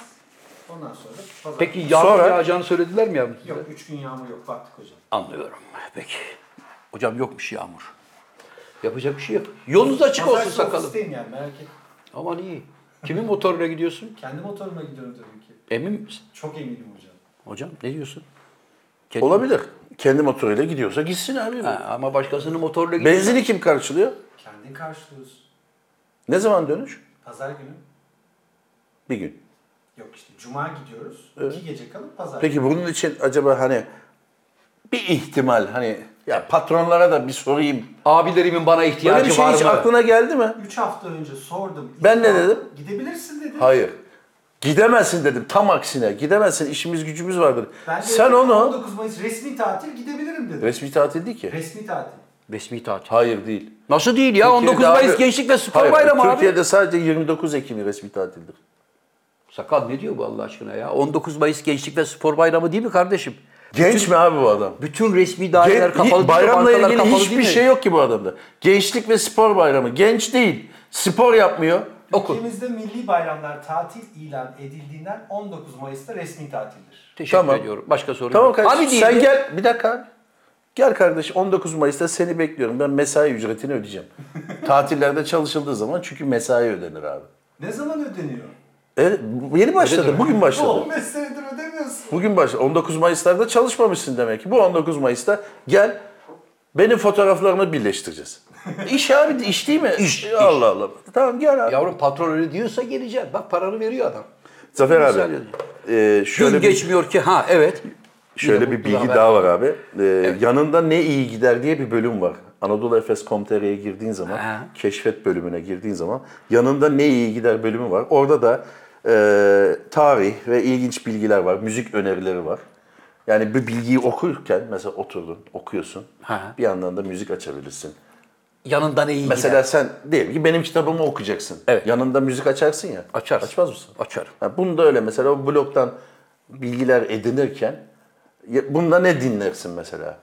Speaker 4: Ondan sonra da pazar.
Speaker 3: Peki yağmur
Speaker 2: Sonra-
Speaker 3: yağacağını söylediler mi yavrum?
Speaker 4: Yok 3 gün yağmur yok baktık hocam.
Speaker 3: Anlıyorum. Peki. Hocam yokmuş yağmur. Yapacak bir şey yok. Yolunuz açık olsun
Speaker 4: Pazartesi
Speaker 3: sakalım.
Speaker 4: ofisteyim yani merak etme.
Speaker 3: Aman iyi. Kimin motoruna gidiyorsun?
Speaker 4: Kendi motoruma gidiyorum tabii ki.
Speaker 3: Emin misin?
Speaker 4: Çok eminim hocam.
Speaker 3: Hocam ne diyorsun? Kendi-
Speaker 2: Olabilir. Kendi motoruyla gidiyorsa gitsin abi.
Speaker 3: Ha, ama başkasının motorla gidiyor.
Speaker 2: Benzini kim karşılıyor?
Speaker 4: Kendin karşılıyoruz.
Speaker 2: Ne zaman dönüş?
Speaker 4: Pazar günü
Speaker 2: Bir gün.
Speaker 4: yok işte cuma gidiyoruz. 2 gece kalıp pazar
Speaker 2: Peki bunun için acaba hani bir ihtimal hani ya patronlara da bir sorayım.
Speaker 3: Abilerimin bana
Speaker 2: Böyle bir
Speaker 3: ihtiyacı
Speaker 2: şey
Speaker 3: var
Speaker 2: hiç
Speaker 3: mı?
Speaker 2: aklına geldi mi?
Speaker 4: 3 hafta önce sordum.
Speaker 2: Ben ne
Speaker 4: Ya,
Speaker 2: dedim?
Speaker 4: Gidebilirsin dedim.
Speaker 2: Hayır. Gidemezsin dedim. Tam aksine. Gidemezsin. işimiz gücümüz vardır.
Speaker 4: Ben de
Speaker 2: Sen
Speaker 4: dedim,
Speaker 2: onu
Speaker 4: 19 Mayıs resmi tatil gidebilirim dedim.
Speaker 2: resmi tatil değil ki.
Speaker 4: Resmi tatil.
Speaker 3: Resmi tatil.
Speaker 2: Hayır değil.
Speaker 3: Nasıl değil ya? 19
Speaker 2: Türkiye'de
Speaker 3: Mayıs
Speaker 2: abi-
Speaker 3: Gençlik ve Spor
Speaker 2: Hayır,
Speaker 3: Bayramı abi.
Speaker 2: Türkiye'de sadece 29 Ekim resmi tatildir.
Speaker 3: Sakal ne diyor bu Allah aşkına ya? 19 Mayıs Gençlik ve Spor Bayramı değil mi kardeşim?
Speaker 2: Genç mi abi bu adam?
Speaker 3: Bütün resmi daireler
Speaker 2: Gen-
Speaker 3: kapalı.
Speaker 2: hi- bayramla
Speaker 3: bankalar
Speaker 2: ilgili
Speaker 3: kapalı değil
Speaker 2: hiçbir
Speaker 3: mi?
Speaker 2: şey yok ki bu adamda. Gençlik ve spor bayramı. Genç değil. Spor yapmıyor.
Speaker 3: Oku.
Speaker 4: Ülkemizde milli bayramlar tatil ilan edildiğinden 19 Mayıs'ta resmi tatildir.
Speaker 3: Teşekkür
Speaker 2: Tamam.
Speaker 3: ediyorum. Başka soru
Speaker 2: Tamam
Speaker 3: yok.
Speaker 2: kardeşim
Speaker 3: Abi değil
Speaker 2: sen
Speaker 3: mi?
Speaker 2: gel. Bir dakika abi. Gel kardeş 19 Mayıs'ta seni bekliyorum. Ben mesai ücretini ödeyeceğim. Tatillerde çalışıldığı zaman çünkü mesai ödenir abi.
Speaker 4: Ne zaman ödeniyor?
Speaker 2: E, yeni başladı. Bugün başladı.
Speaker 4: Oğlum 15 senedir ödemiyorsun.
Speaker 2: Bugün baş 19 Mayıs'larda çalışmamışsın demek ki. Bu 19 Mayıs'ta gel benim fotoğraflarımı birleştireceğiz. İş abi iş değil mi? İş. Allah Allah. Tamam gel abi.
Speaker 3: Yavrum patron öyle diyorsa geleceğim. Bak paranı veriyor adam.
Speaker 2: Zafer abi.
Speaker 3: Güzel
Speaker 2: e,
Speaker 3: Gün
Speaker 2: şöyle bir,
Speaker 3: geçmiyor ki ha evet.
Speaker 2: şöyle bir bilgi daha var abi. E, Yanında ne iyi gider diye bir bölüm var. Anadolu Efes.com.tr'ye girdiğin zaman,
Speaker 3: Ha.
Speaker 2: keşfet bölümüne girdiğin zaman yanında ne iyi gider bölümü var. Orada da e, tarih ve ilginç bilgiler var, müzik önerileri var. Yani bir bilgiyi okurken mesela oturdun, okuyorsun.
Speaker 3: Ha.
Speaker 2: Bir yandan da müzik açabilirsin.
Speaker 3: Yanından iyi
Speaker 2: Mesela
Speaker 3: gider.
Speaker 2: sen diyelim ki benim kitabımı okuyacaksın.
Speaker 3: Evet.
Speaker 2: Yanında müzik açarsın ya.
Speaker 3: Açarsın.
Speaker 2: Açmaz mısın?
Speaker 3: Açarım.
Speaker 2: Ha, bunu da öyle mesela o blogdan bilgiler edinirken ya- bunda ne dinlersin mesela?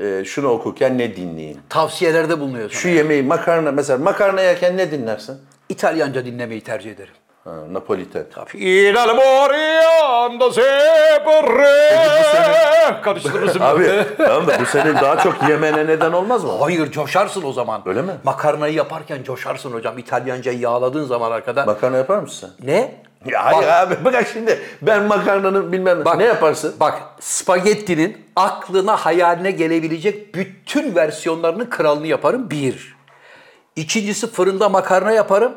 Speaker 2: Ee, şunu okurken ne dinleyeyim?
Speaker 3: Tavsiyelerde bulunuyorsun.
Speaker 2: Şu yemeği makarna mesela makarna yerken ne dinlersin?
Speaker 3: İtalyanca dinlemeyi tercih ederim.
Speaker 2: Ha, Napoliten.
Speaker 1: Il alboriando sempre. Karıştırırsın.
Speaker 2: Abi tamam da bu senin daha çok yemene neden olmaz mı?
Speaker 3: Hayır coşarsın o zaman.
Speaker 2: Öyle mi?
Speaker 3: Makarnayı yaparken coşarsın hocam. İtalyancayı yağladığın zaman arkada.
Speaker 2: Makarna yapar mısın?
Speaker 3: Ne?
Speaker 2: Ya hayır
Speaker 3: Bak-
Speaker 2: abi bırak şimdi ben makarnanın bilmem
Speaker 3: Bak-
Speaker 2: ne yaparsın?
Speaker 3: Bak spagettinin aklına hayaline gelebilecek bütün versiyonlarının kralını yaparım bir. İkincisi fırında makarna yaparım.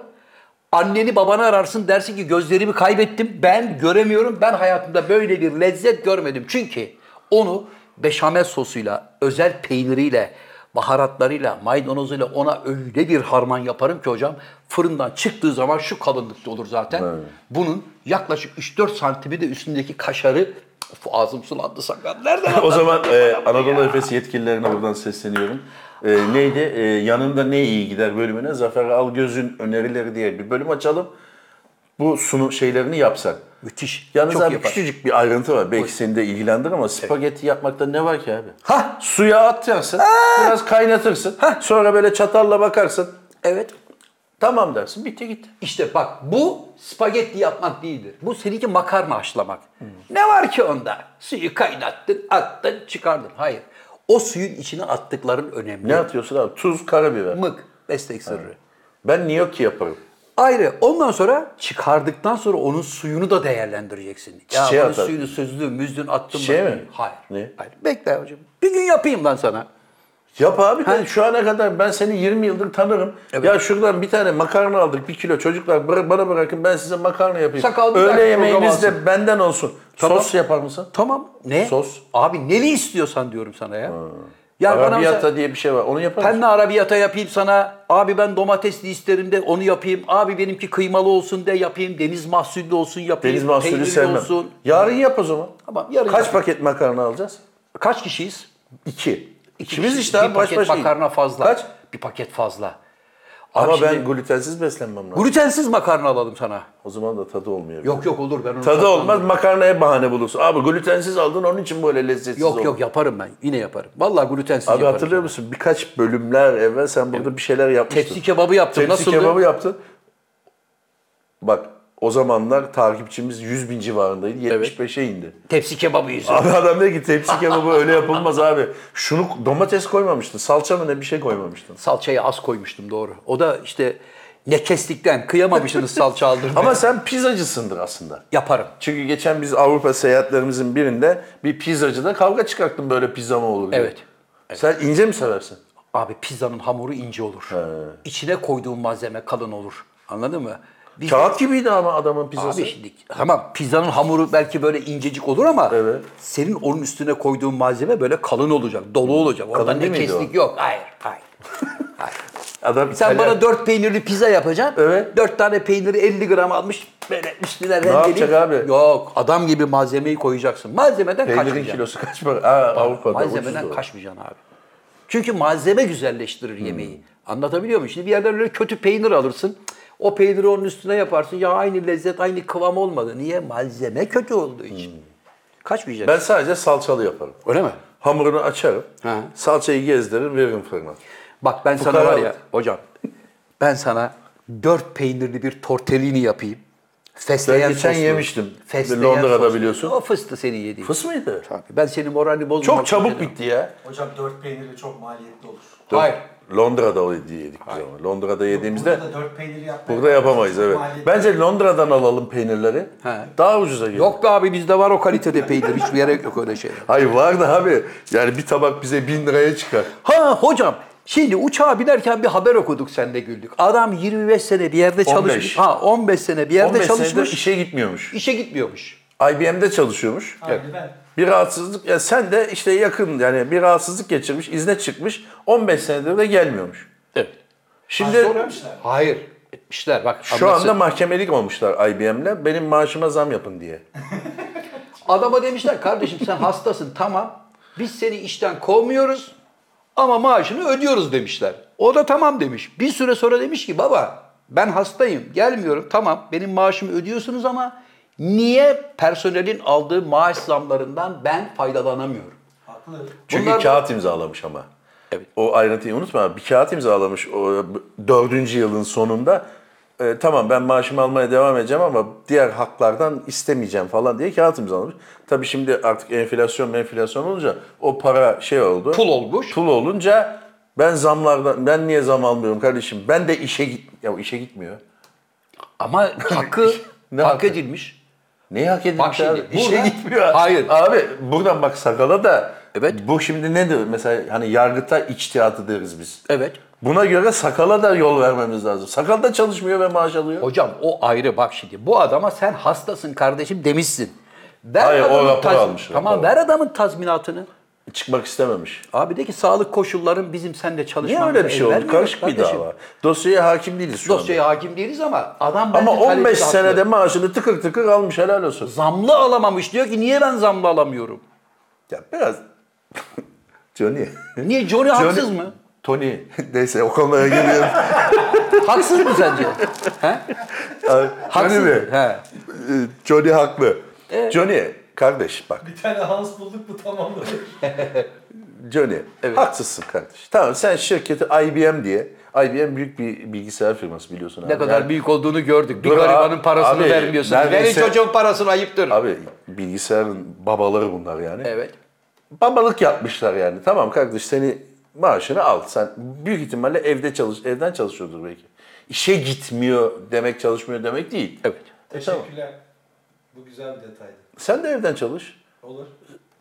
Speaker 3: Anneni babanı ararsın dersin ki gözlerimi kaybettim. Ben göremiyorum. Ben hayatımda böyle bir lezzet görmedim. Çünkü onu beşamel sosuyla, özel peyniriyle, baharatlarıyla, maydanozuyla ona öyle bir harman yaparım ki hocam fırından çıktığı zaman şu kalınlıkta olur zaten. Bunun yaklaşık 3-4 santimi de üstündeki kaşarı Of, ağzım sulandı sakal. Nereden
Speaker 2: O zaman e, Anadolu Efes yetkililerine buradan sesleniyorum. E, neydi? E, yanında ne iyi gider bölümüne Zafer Algöz'ün önerileri diye bir bölüm açalım. Bu sunum şeylerini yapsan.
Speaker 3: Müthiş.
Speaker 2: Yalnız
Speaker 3: Çok
Speaker 2: abi
Speaker 3: yapar.
Speaker 2: küçücük bir ayrıntı var. Belki seni de ilgilendir ama spagetti yapmakta ne var ki abi?
Speaker 3: Hah!
Speaker 2: Suya atacaksın, biraz kaynatırsın. Sonra böyle çatalla bakarsın.
Speaker 3: Evet.
Speaker 2: Tamam dersin, bitti gitti.
Speaker 3: İşte bak bu spagetti yapmak değildir. Bu seninki makarna haşlamak. Ne var ki onda? Suyu kaynattın, attın, çıkardın. Hayır. O suyun içine attıkların önemli.
Speaker 2: Ne atıyorsun abi? Tuz, karabiber.
Speaker 3: Mık, meslek sırrı.
Speaker 2: Ben gnocchi yaparım.
Speaker 3: Ayrı. Ondan sonra çıkardıktan sonra onun suyunu da değerlendireceksin. Ya
Speaker 2: Çiçeğe
Speaker 3: bunun
Speaker 2: atar.
Speaker 3: suyunu süzdüm, müzdün, attım.
Speaker 2: Çiçeğe
Speaker 3: da-
Speaker 2: mi?
Speaker 3: Hayır.
Speaker 2: Ne?
Speaker 3: Hayır. Bekle hocam. Bir gün yapayım lan sana.
Speaker 2: Yap abi ben şu ana kadar ben seni 20 yıldır tanırım. Ya şuradan bir tane makarna aldık bir kilo çocuklar bıra- bana bırakın ben size makarna yapayım.
Speaker 3: Sakal bir
Speaker 2: Öğle
Speaker 3: dakika
Speaker 2: yemeğiniz
Speaker 3: program
Speaker 2: de benden olsun.
Speaker 3: Tamam.
Speaker 2: Sos yapar mısın?
Speaker 3: Tamam. Ne?
Speaker 2: Sos.
Speaker 3: Abi neli istiyorsan diyorum sana ya. Ya bana mesela-
Speaker 2: Arabiyata diye bir şey var onu yapar mısın?
Speaker 3: Penne arabiyata yapayım sana. Abi ben domatesli isterim de onu yapayım. Abi benimki kıymalı olsun de yapayım. Deniz mahsullü olsun yapayım.
Speaker 2: Deniz mahsulü
Speaker 3: Peynirli
Speaker 2: sevmem.
Speaker 3: olsun.
Speaker 2: Yarın yap o zaman.
Speaker 3: Tamam, yarın
Speaker 2: Kaç
Speaker 3: yap.
Speaker 2: paket makarna alacağız?
Speaker 3: Kaç kişiyiz?
Speaker 2: İki.
Speaker 3: İkimiz
Speaker 2: İkimiz işte abi
Speaker 3: Bir
Speaker 2: baş
Speaker 3: paket
Speaker 2: başa.
Speaker 3: makarna fazla.
Speaker 2: Kaç?
Speaker 3: Bir paket fazla. Abi
Speaker 2: Ama ben
Speaker 3: şimdi
Speaker 2: glutensiz beslenmem lazım.
Speaker 3: glutensiz makarna alalım sana.
Speaker 2: O zaman da tadı olmuyor.
Speaker 3: Yok yok olur ben onu.
Speaker 2: Tadı
Speaker 3: satmam.
Speaker 2: olmaz makarnaya bahane bulursun. Abi glutensiz aldın onun için böyle lezzetsiz
Speaker 3: Yok
Speaker 2: oldu.
Speaker 3: yok yaparım ben. Yine yaparım. Vallahi glutensiz
Speaker 2: Abi
Speaker 3: yaparım.
Speaker 2: hatırlıyor musun? Birkaç bölümler evvel sen burada bir şeyler yapmıştın.
Speaker 3: Tepsi kebabı yaptım.
Speaker 2: Tepsi
Speaker 3: Nasıldı?
Speaker 2: kebabı yaptın. Bak o zamanlar takipçimiz 100 bin civarındaydı. 75'e indi.
Speaker 3: Tepsi kebabı yüzü.
Speaker 2: Abi adam dedi ki tepsi kebabı öyle yapılmaz abi. Şunu domates koymamıştın. Salça mı ne bir şey koymamıştın.
Speaker 3: Salçayı az koymuştum doğru. O da işte ne kestikten kıyamamışsınız salça aldırmaya.
Speaker 2: Ama sen pizzacısındır aslında.
Speaker 3: yaparım.
Speaker 2: Çünkü geçen biz Avrupa seyahatlerimizin birinde bir pizzacıda kavga çıkarttın böyle pizza mı olur diye.
Speaker 3: Evet.
Speaker 2: Sen ince mi seversin?
Speaker 3: Abi pizzanın hamuru ince olur. İçine koyduğun malzeme kalın olur. Anladın mı? Biz
Speaker 2: Kağıt gibiydi ama adamın pizzası.
Speaker 3: Abi şimdi tamam pizzanın hamuru belki böyle incecik olur ama
Speaker 2: Evet.
Speaker 3: senin onun üstüne koyduğun malzeme böyle kalın olacak, dolu olacak. Orada
Speaker 2: Kalın
Speaker 3: ne
Speaker 2: değil miydi
Speaker 3: kestik yok. Hayır, hayır. hayır.
Speaker 2: Adam
Speaker 3: Sen
Speaker 2: İtalyan-
Speaker 3: bana dört peynirli pizza yapacaksın.
Speaker 2: Evet.
Speaker 3: Dört tane peyniri 50 gram almış. Böyle üstüne rendeleyip.
Speaker 2: yapacak abi?
Speaker 3: Yok adam gibi malzemeyi koyacaksın. Malzemeden
Speaker 2: Peynirin
Speaker 3: kaçmayacaksın.
Speaker 2: kilosu kaç para? Aa, Avrupa'da
Speaker 3: Malzemeden
Speaker 2: ucuz o. Hmm.
Speaker 3: kaçmayacaksın abi. Çünkü malzeme güzelleştirir yemeği. Anlatabiliyor muyum? Şimdi bir yerden öyle kötü peynir alırsın. O peyniri onun üstüne yaparsın. Ya aynı lezzet, aynı kıvam olmadı. Niye? Malzeme kötü olduğu için.
Speaker 2: Hmm.
Speaker 3: Kaçmayacaksın.
Speaker 2: Ben sadece salçalı yaparım.
Speaker 3: Öyle mi?
Speaker 2: Hamurunu açarım.
Speaker 3: Ha.
Speaker 2: Salçayı gezdiririm, veririm fırına.
Speaker 3: Bak ben sana
Speaker 2: kadar
Speaker 3: var ya
Speaker 2: oldu.
Speaker 3: hocam. Ben sana dört peynirli bir tortellini yapayım. Fesleğen
Speaker 2: Ben geçen
Speaker 3: soslu.
Speaker 2: yemiştim.
Speaker 3: Fesleğen
Speaker 2: Londra'da
Speaker 3: soslu.
Speaker 2: biliyorsun.
Speaker 3: O fıstığı senin yediğin.
Speaker 2: Fıs mıydı?
Speaker 3: Ben senin moralini bozmamak
Speaker 2: Çok çabuk
Speaker 3: istedim.
Speaker 2: bitti ya.
Speaker 4: Hocam dört peynirli çok maliyetli olur.
Speaker 3: Hayır.
Speaker 2: Londra'da o hediye yedik biz ama. Londra'da yediğimizde
Speaker 4: Burada dört peyniri yapmak.
Speaker 2: burada yapamayız evet.
Speaker 4: Maliyet-
Speaker 2: Bence Londra'dan alalım peynirleri.
Speaker 3: He.
Speaker 2: Daha ucuza gelir.
Speaker 3: Yok be abi bizde var o kalitede peynir. Hiçbir yere yok öyle şey.
Speaker 2: Hayır var da abi. Yani bir tabak bize bin liraya çıkar.
Speaker 3: Ha hocam şimdi uçağa binerken bir haber okuduk sen de güldük. Adam 25 sene bir yerde çalışmış. Ha 15 sene bir yerde
Speaker 2: 15
Speaker 3: çalışmış.
Speaker 2: senedir işe gitmiyormuş.
Speaker 3: İşe gitmiyormuş.
Speaker 2: IBM'de çalışıyormuş.
Speaker 4: Aynı ben.
Speaker 2: Bir rahatsızlık ya sen de işte yakın yani bir rahatsızlık geçirmiş, izne çıkmış. 15 senedir de gelmiyormuş.
Speaker 3: Evet.
Speaker 2: Şimdi
Speaker 4: Söylemişler.
Speaker 3: Hayır. Etmişler bak.
Speaker 2: şu
Speaker 3: anlatsın.
Speaker 2: anda mahkemelik olmuşlar IBM'le. Benim maaşıma zam yapın diye.
Speaker 3: Adama demişler kardeşim sen hastasın tamam. Biz seni işten kovmuyoruz ama maaşını ödüyoruz demişler. O da tamam demiş. Bir süre sonra demiş ki baba ben hastayım gelmiyorum tamam benim maaşımı ödüyorsunuz ama niye personelin aldığı maaş zamlarından ben faydalanamıyorum?
Speaker 4: Haklı.
Speaker 2: Çünkü
Speaker 3: Bunlar da-
Speaker 2: kağıt imzalamış ama.
Speaker 3: Evet.
Speaker 2: O ayrıntıyı unutma. abi. Bir kağıt imzalamış o dördüncü yılın sonunda. E, tamam ben maaşımı almaya devam edeceğim ama diğer haklardan istemeyeceğim falan diye kağıt imzalamış. Tabii şimdi artık enflasyon enflasyon olunca o para şey oldu.
Speaker 3: Pul olmuş.
Speaker 2: Pul olunca ben zamlardan ben niye zam almıyorum kardeşim? Ben de işe git ya işe gitmiyor.
Speaker 3: Ama hakkı
Speaker 2: Ne
Speaker 3: hak
Speaker 2: hakkı?
Speaker 3: edilmiş.
Speaker 2: Neyi hak edilmiş
Speaker 3: Bak şimdi
Speaker 2: abi? İşe
Speaker 3: burada-
Speaker 2: gitmiyor.
Speaker 3: Hayır.
Speaker 2: Abi buradan bak sakala da
Speaker 3: Evet.
Speaker 2: bu şimdi nedir? Mesela hani yargıta içtihatı deriz biz.
Speaker 3: Evet.
Speaker 2: Buna göre sakala da yol vermemiz lazım. Sakal da çalışmıyor ve maaş alıyor.
Speaker 3: Hocam o ayrı bak şimdi. Bu adama sen hastasın kardeşim demişsin. Ver
Speaker 2: Hayır, o
Speaker 3: adamın
Speaker 2: rapor
Speaker 3: taz-
Speaker 2: almış,
Speaker 3: Tamam
Speaker 2: rapor.
Speaker 3: ver adamın tazminatını.
Speaker 2: Çıkmak istememiş.
Speaker 3: Abi de ki sağlık koşulların bizim seninle
Speaker 2: Niye
Speaker 3: çalışmamıza
Speaker 2: öyle bir şey
Speaker 3: el
Speaker 2: oldu?
Speaker 3: vermiyor
Speaker 2: Karışık bir
Speaker 3: e, kardeşim.
Speaker 2: dava. Dosyaya hakim değiliz şu anda.
Speaker 3: Dosyaya hakim değiliz ama adam
Speaker 2: Ama
Speaker 3: bence
Speaker 2: 15
Speaker 3: talebinde haklı.
Speaker 2: senede maaşını tıkır tıkır almış helal olsun.
Speaker 3: zamlı alamamış. Diyor ki niye ben zamlı alamıyorum?
Speaker 2: Ya biraz... Johnny.
Speaker 3: Niye E, Johnny haksız mı?
Speaker 2: Tony. Neyse o konulara giriyorum.
Speaker 3: haksız mı sence? He?
Speaker 2: Abi, Johnny
Speaker 3: Haksız.
Speaker 2: mi?
Speaker 3: mı? Ee? He.
Speaker 2: Ee, Johnny haklı. Johnny kardeş bak.
Speaker 4: Bir tane Hans bulduk mu tamamladık.
Speaker 2: Johnny haksızsın kardeş. Tamam sen şirketi IBM diye. IBM büyük bir bilgisayar firması biliyorsun abi.
Speaker 3: Ne kadar
Speaker 2: Yani-
Speaker 3: büyük olduğunu gördük. Bir
Speaker 2: Dur
Speaker 3: garibanın
Speaker 2: abi,
Speaker 3: parasını
Speaker 2: abi,
Speaker 3: vermiyorsun.
Speaker 2: neredeyse-
Speaker 3: Verin çocuğun parasını ayıptır.
Speaker 2: Abi bilgisayarın babaları bunlar yani.
Speaker 3: Evet.
Speaker 2: Babalık yapmışlar yani. Tamam kardeş seni maaşını al. Sen büyük ihtimalle evde çalış, evden çalışıyordur belki. İşe gitmiyor demek çalışmıyor demek değil.
Speaker 3: Evet.
Speaker 4: Teşekkürler. Bu güzel bir detaydı.
Speaker 2: Sen de evden çalış.
Speaker 4: Olur.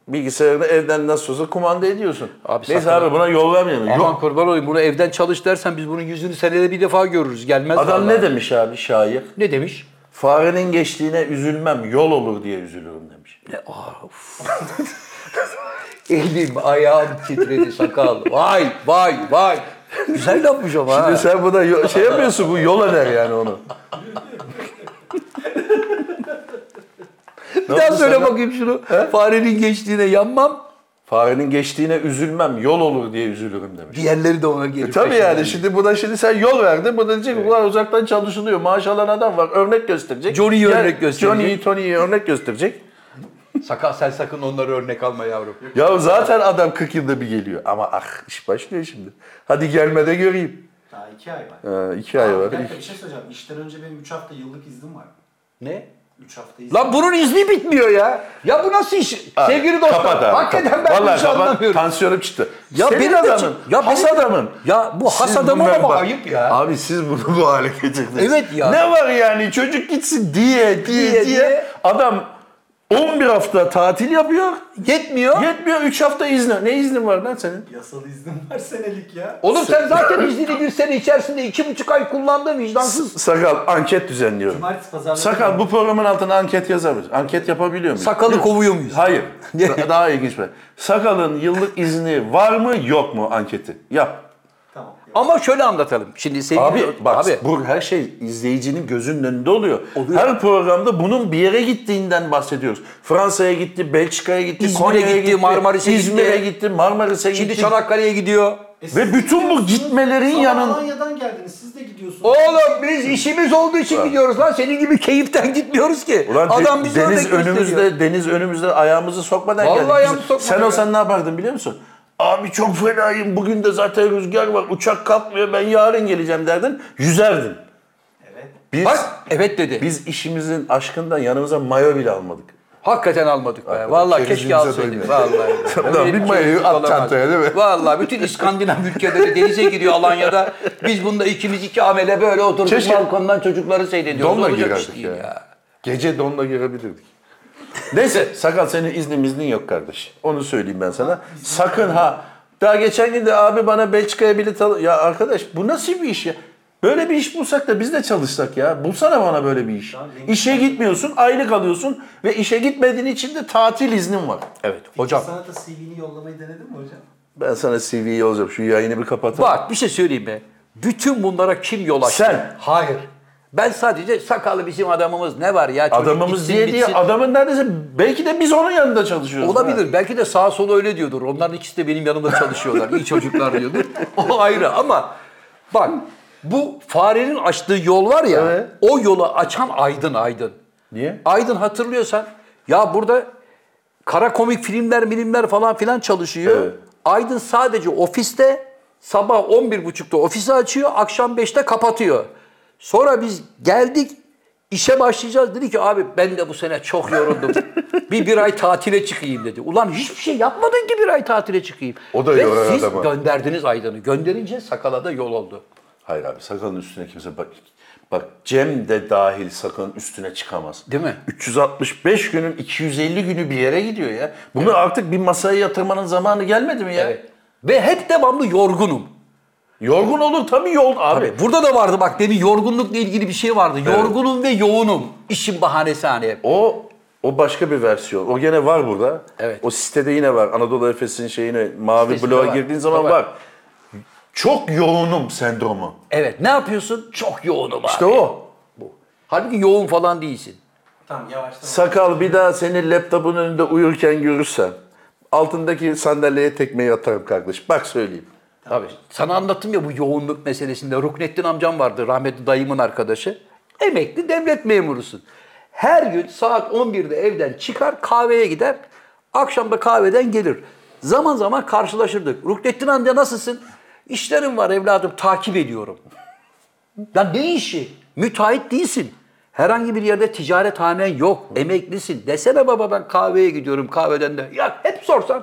Speaker 2: Bilgisayarını evden nasıl olsa kumanda ediyorsun.
Speaker 3: Abi
Speaker 2: Neyse
Speaker 3: sakın-
Speaker 2: abi buna yol vermeyelim.
Speaker 3: Aman
Speaker 2: Yok.
Speaker 3: kurban olayım bunu evden çalış dersen biz bunun yüzünü senede bir defa görürüz. Gelmez
Speaker 2: Adam
Speaker 3: vallahi.
Speaker 2: ne demiş abi şair?
Speaker 3: Ne demiş?
Speaker 2: Farenin geçtiğine üzülmem, yol olur diye üzülürüm demiş.
Speaker 3: Elim ayağım titredi sakal. Vay vay vay. Güzel yapmış ama ha.
Speaker 2: Şimdi sen buna yo- şey yapıyorsun, bu yol eder yani onu.
Speaker 3: Bir daha söyle bakayım şunu. Farenin geçtiğine yanmam.
Speaker 2: Farenin geçtiğine üzülmem, yol olur diye üzülürüm demiş.
Speaker 3: Diğerleri de ona gelir.
Speaker 2: Tabii
Speaker 3: peşinden.
Speaker 2: yani şimdi bu da şimdi sen yol verdin. Bu da diyecek ki ulan uzaktan çalışılıyor. Maaş alan adam var. Örnek gösterecek.
Speaker 3: Johnny'yi
Speaker 2: Gel-
Speaker 3: örnek gösterecek.
Speaker 2: Johnny'yi, Tony'yi örnek gösterecek.
Speaker 3: Sakal sen sakın onları örnek alma yavrum.
Speaker 2: Ya zaten adam 40 yılda bir geliyor. Ama ah iş başlıyor şimdi. Hadi gelmede göreyim.
Speaker 4: Daha iki ay var.
Speaker 2: Ee, iki ay var.
Speaker 4: Bir dakika bir şey söyleyeceğim. İşten önce benim 3 hafta yıllık iznim var.
Speaker 3: Ne?
Speaker 4: 3 hafta iznim.
Speaker 3: Lan bunun izni bitmiyor ya. Ya bu nasıl iş? Sevgili dostlar.
Speaker 2: Kapat abi.
Speaker 3: Hakikaten
Speaker 2: kapat.
Speaker 3: ben bunu
Speaker 2: Vallahi
Speaker 3: hiç
Speaker 2: kapat.
Speaker 3: anlamıyorum.
Speaker 2: Tansiyonum çıktı.
Speaker 3: Ya
Speaker 2: Senin
Speaker 3: benim de
Speaker 2: adamın.
Speaker 3: çık- ya
Speaker 2: has
Speaker 3: benim de-
Speaker 2: adamın.
Speaker 3: Ya bu has
Speaker 2: Siz
Speaker 3: adamın
Speaker 2: bunlar
Speaker 3: ama
Speaker 2: bak-
Speaker 3: ayıp ya.
Speaker 2: Abi siz bunu bu hale getirdiniz.
Speaker 3: Evet ya.
Speaker 2: Ne var yani çocuk gitsin diye diye
Speaker 3: Diye,
Speaker 2: diye.
Speaker 3: diye.
Speaker 2: Adam 11 hafta tatil yapıyor.
Speaker 3: Yetmiyor.
Speaker 2: Yetmiyor 3 hafta izni. Ne iznin var lan senin?
Speaker 4: Yasal iznim var senelik ya.
Speaker 3: Oğlum sen zaten iznini bir sene içerisinde iki buçuk ay kullandın vicdansız.
Speaker 2: Sakal anket düzenliyorum.
Speaker 4: Cumartesi pazarları.
Speaker 2: Sakal bu programın altına anket yazar mısın? Anket yapabiliyor muyuz?
Speaker 3: Sakalı kovuyor muyuz?
Speaker 2: Hayır. Da- Daha ilginç bir. şey. Sakalın yıllık izni var mı yok mu anketi? Yap.
Speaker 4: Tamam.
Speaker 3: Ama şöyle anlatalım. Şimdi sevgili
Speaker 2: Abi bak
Speaker 3: abi,
Speaker 2: bu her şey izleyicinin gözünün önünde oluyor.
Speaker 3: Oluyor.
Speaker 2: Her programda bunun bir yere gittiğinden bahsediyoruz. Fransa'ya gitti, Belçika'ya gitti,
Speaker 3: İzmir'e
Speaker 2: Konya'ya
Speaker 3: gitti,
Speaker 2: gitti,
Speaker 3: Marmaris'e
Speaker 2: İzmir'e
Speaker 3: gitti.
Speaker 2: gitti, Marmaris'e
Speaker 3: şimdi
Speaker 2: gitti.
Speaker 3: Çanakkale'ye gidiyor.
Speaker 4: E
Speaker 2: Ve
Speaker 4: siz
Speaker 2: bütün bu
Speaker 4: gidiyorsunuz,
Speaker 2: gitmelerin
Speaker 4: sonra
Speaker 2: yanın
Speaker 4: Alanya'dan geldiniz. Siz de gidiyorsunuz.
Speaker 3: Oğlum biz işimiz olduğu için gidiyoruz lan. Senin gibi keyiften gitmiyoruz ki.
Speaker 2: Ulan de-
Speaker 3: Adam bizi
Speaker 2: deniz
Speaker 3: örnek
Speaker 2: önümüzde,
Speaker 3: gösteriyor.
Speaker 2: deniz önümüzde ayağımızı sokmadan
Speaker 3: Vallahi
Speaker 2: geldik. Biz-
Speaker 3: ayağımızı sokmadan
Speaker 2: Sen
Speaker 3: ya.
Speaker 2: olsan ne yapardın biliyor musun? Abi çok fenayım. Bugün de zaten rüzgar var. Uçak kalkmıyor. Ben yarın geleceğim derdin. Yüzerdin.
Speaker 4: Evet.
Speaker 2: Biz
Speaker 3: Bak evet dedi.
Speaker 2: biz işimizin aşkından yanımıza mayo bile almadık.
Speaker 3: Hakikaten almadık be.
Speaker 2: Hakikaten.
Speaker 3: Vallahi keşke
Speaker 2: Şerefimize
Speaker 3: alsaydık.
Speaker 2: doymadık.
Speaker 3: Vallahi.
Speaker 2: Tamam,
Speaker 3: Öyle
Speaker 2: bir
Speaker 3: şey
Speaker 2: mayoyu
Speaker 3: eksik
Speaker 2: at
Speaker 3: olamaz.
Speaker 2: çantaya, değil mi?
Speaker 3: Vallahi bütün İskandinav ülkeleri denize giriyor Alanya'da. Biz bunda ikimiz iki amele böyle oturduk
Speaker 2: Keşke-
Speaker 3: balkondan çocukları seyrediyoruz.
Speaker 2: Donla
Speaker 3: Olacak şey iş
Speaker 2: girerdik
Speaker 3: değil
Speaker 2: ya. Gece donla girebilirdik. Neyse sakal senin iznin iznin yok kardeş. Onu söyleyeyim ben sana. Sakın ha. Daha geçen gün de abi bana Belçika'ya bilet al... Ya arkadaş bu nasıl bir iş ya? Böyle bir iş bulsak da biz de çalışsak ya. Bulsana bana böyle bir iş. İşe gitmiyorsun, aylık alıyorsun ve işe gitmediğin için de tatil iznin var.
Speaker 1: Evet.
Speaker 2: Hocam
Speaker 4: Sana da CV'ni yollamayı denedin mi hocam?
Speaker 2: ben sana CV'yi olacağım. Şu yayını bir kapatalım.
Speaker 3: Bak bir şey söyleyeyim mi? Bütün bunlara kim yol açtı?
Speaker 2: Sen.
Speaker 3: Hayır. Ben sadece sakallı bizim adamımız ne var ya? Çocuk
Speaker 2: Adamımız
Speaker 3: gitsin,
Speaker 2: diye diye
Speaker 3: bitsin.
Speaker 2: adamın neredeyse belki de biz onun yanında çalışıyoruz.
Speaker 3: Olabilir. Belki de sağ solu öyle diyordur. Onların ikisi de benim yanımda çalışıyorlar. İyi çocuklar diyordur. O ayrı ama bak bu farenin açtığı yol var ya
Speaker 2: Evet.
Speaker 3: o yola açan Aydın Aydın.
Speaker 2: Niye?
Speaker 3: Aydın hatırlıyorsan ya burada kara komik filmler milimler falan filan çalışıyor.
Speaker 2: Evet.
Speaker 3: Aydın sadece ofiste sabah 11.30'da ofisi açıyor akşam 5'te kapatıyor. Sonra biz geldik işe başlayacağız dedi ki abi ben de bu sene çok yoruldum. bir bir ay tatile çıkayım dedi. Ulan hiçbir şey yapmadın ki bir ay tatile çıkayım.
Speaker 2: O da
Speaker 3: Ve
Speaker 2: yorar
Speaker 3: siz
Speaker 2: adamı.
Speaker 3: gönderdiniz Aydın'ı. Gönderince sakala da yol oldu.
Speaker 2: Hayır abi sakalın üstüne kimse bak bak Cem de dahil sakalın üstüne çıkamaz.
Speaker 3: Değil mi?
Speaker 2: 365 günün 250 günü bir yere gidiyor ya. Bunu artık bir masaya yatırmanın zamanı gelmedi mi ya?
Speaker 3: Evet. Ve hep devamlı yorgunum.
Speaker 2: Yorgun olur tabii yol abi.
Speaker 3: E, Burada da vardı bak demin yorgunlukla ilgili bir şey vardı. Yorgunum ve yoğunum. İşin bahanesi hani hep.
Speaker 2: O o başka bir versiyon. O gene var burada.
Speaker 3: Evet.
Speaker 2: O sitede yine var. Anadolu Efes'in şeyine mavi
Speaker 3: Sitesinde
Speaker 2: bloğa
Speaker 3: var.
Speaker 2: girdiğin zaman
Speaker 3: Tabii.
Speaker 2: var. Çok yoğunum sendromu.
Speaker 3: Evet ne yapıyorsun? Çok yoğunum abi.
Speaker 2: İşte o.
Speaker 3: Halbuki yoğun falan değilsin.
Speaker 4: Tamam yavaştan.
Speaker 2: Sakal bir daha seni laptopun önünde uyurken görürsem altındaki sandalyeye tekmeyi atarım kardeş. Bak söyleyeyim.
Speaker 3: Tabii. Sana anlattım ya bu yoğunluk meselesinde. Ruknettin amcam vardı rahmetli dayımın arkadaşı. Emekli devlet memurusun. Her gün saat 11'de evden çıkar kahveye gider. Akşam da kahveden gelir. Zaman zaman karşılaşırdık. Ruknettin amca nasılsın? İşlerim var evladım takip ediyorum. Ya ne işi? Müteahhit değilsin. Herhangi bir yerde ticarethanen yok. Emeklisin. Desene baba ben kahveye gidiyorum kahveden de. Ya hep sorsan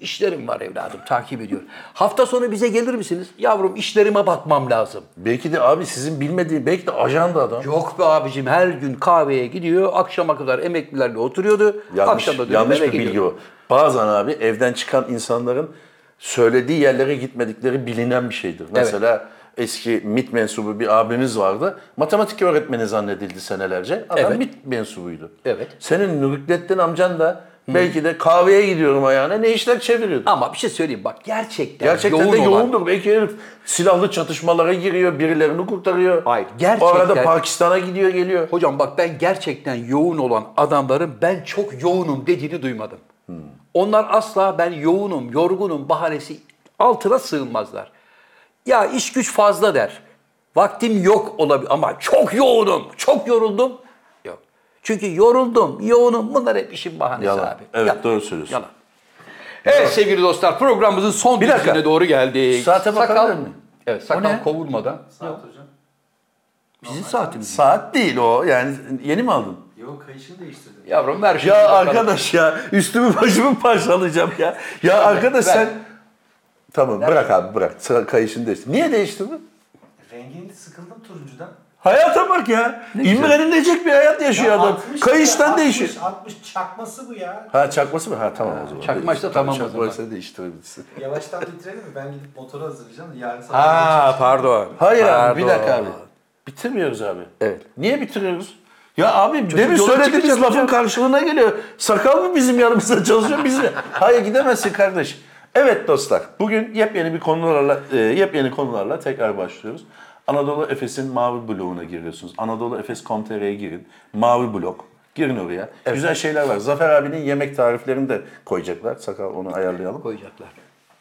Speaker 3: işlerim var evladım takip ediyorum. Hafta sonu bize gelir misiniz? Yavrum işlerime bakmam lazım.
Speaker 2: Belki de abi sizin bilmediği belki de ajanda adam.
Speaker 3: Yok be abicim her gün kahveye gidiyor. Akşama kadar emeklilerle oturuyordu.
Speaker 2: Yanlış,
Speaker 3: Akşam da dönüp
Speaker 2: yanlış
Speaker 3: eve
Speaker 2: bir bilgi
Speaker 3: gidiyordu.
Speaker 2: o. Bazen abi evden çıkan insanların söylediği yerlere gitmedikleri bilinen bir şeydir. Mesela eski MIT mensubu bir abimiz vardı. Matematik öğretmeni zannedildi senelerce. Adam
Speaker 3: Evet.
Speaker 2: MIT mensubuydu.
Speaker 3: Evet.
Speaker 2: Senin Nurglettin amcan da belki de kahveye gidiyorum ayağına ne işler çeviriyordu.
Speaker 3: Ama bir şey söyleyeyim bak gerçekten,
Speaker 2: Gerçekten
Speaker 3: yoğun
Speaker 2: de
Speaker 3: olan-
Speaker 2: yoğundur. Belki herif silahlı çatışmalara giriyor, birilerini kurtarıyor.
Speaker 3: Hayır,
Speaker 2: O arada
Speaker 3: gerçekten-
Speaker 2: Pakistan'a gidiyor, geliyor.
Speaker 3: Hocam bak ben gerçekten yoğun olan adamların ben çok yoğunum dediğini duymadım.
Speaker 2: Hmm.
Speaker 3: Onlar asla ben yoğunum, yorgunum bahanesi altına sığınmazlar. Ya iş güç fazla der. Vaktim yok olabilir ama çok yoğunum, çok yoruldum. Yok. Çünkü yoruldum, yoğunum bunlar hep işin bahanesi
Speaker 2: Yalan.
Speaker 3: abi.
Speaker 2: Evet,
Speaker 3: Yalan.
Speaker 2: doğru söylüyorsun.
Speaker 3: Yalan. Evet sevgili dostlar programımızın son
Speaker 2: dakika.
Speaker 3: bölümüne doğru geldik.
Speaker 2: Saate
Speaker 3: sakal,
Speaker 2: bakabilir miyim?
Speaker 3: Evet
Speaker 2: O ne?
Speaker 3: sakal kovulmadan.
Speaker 4: Saat hocam.
Speaker 3: Bizim saatimiz.
Speaker 2: Saat değil o. Yani yeni mi aldın?
Speaker 4: Yok kayışını değiştirdim.
Speaker 3: Yavrum ver şunu
Speaker 2: Ya
Speaker 3: bakalım.
Speaker 2: arkadaş ya üstümü başımı parçalayacağım ya. Ya arkadaş
Speaker 3: ver.
Speaker 2: sen... Tamam bırak abi bırak. Sıra kayışını değiştir. Niye değiştirdin?
Speaker 4: Rengini sıkıldım turuncudan.
Speaker 2: Hayata bak ya. İmrenilecek bir hayat yaşıyor
Speaker 4: Ya
Speaker 2: Şey adam.
Speaker 4: 60
Speaker 2: Kayıştan
Speaker 4: ya,
Speaker 2: değişiyor.
Speaker 4: 60, 60 çakması bu ya.
Speaker 2: Ha çakması mı? Ha tamam o zaman.
Speaker 3: çakma işte tamam o zaman.
Speaker 2: Çakmaysa değiştirebilirsin.
Speaker 4: Yavaştan bitirelim mi? Ben gidip motoru hazırlayacağım. da Yarın sabah.
Speaker 1: Ha pardon.
Speaker 2: Hayır abi bir
Speaker 1: Pardon.
Speaker 2: dakika abi. Bitirmiyoruz abi.
Speaker 3: Evet.
Speaker 2: Niye bitiriyoruz? Ya abi demin
Speaker 3: yola çıkacak
Speaker 2: söylediğimiz lafın
Speaker 3: hocam.
Speaker 2: karşılığına geliyor. Sakal mı bizim yanımızda çalışıyor biz mi? Hayır gidemezsin kardeş. Evet dostlar bugün yepyeni bir konularla e, yepyeni konularla tekrar başlıyoruz. Anadolu Efes'in mavi bloğuna giriyorsunuz. Anadolu Efes.com.tr'ye girin. Mavi blok. Girin oraya. Güzel şeyler var. Zafer abinin yemek tariflerini de koyacaklar. Sakal onu ayarlayalım.
Speaker 3: koyacaklar.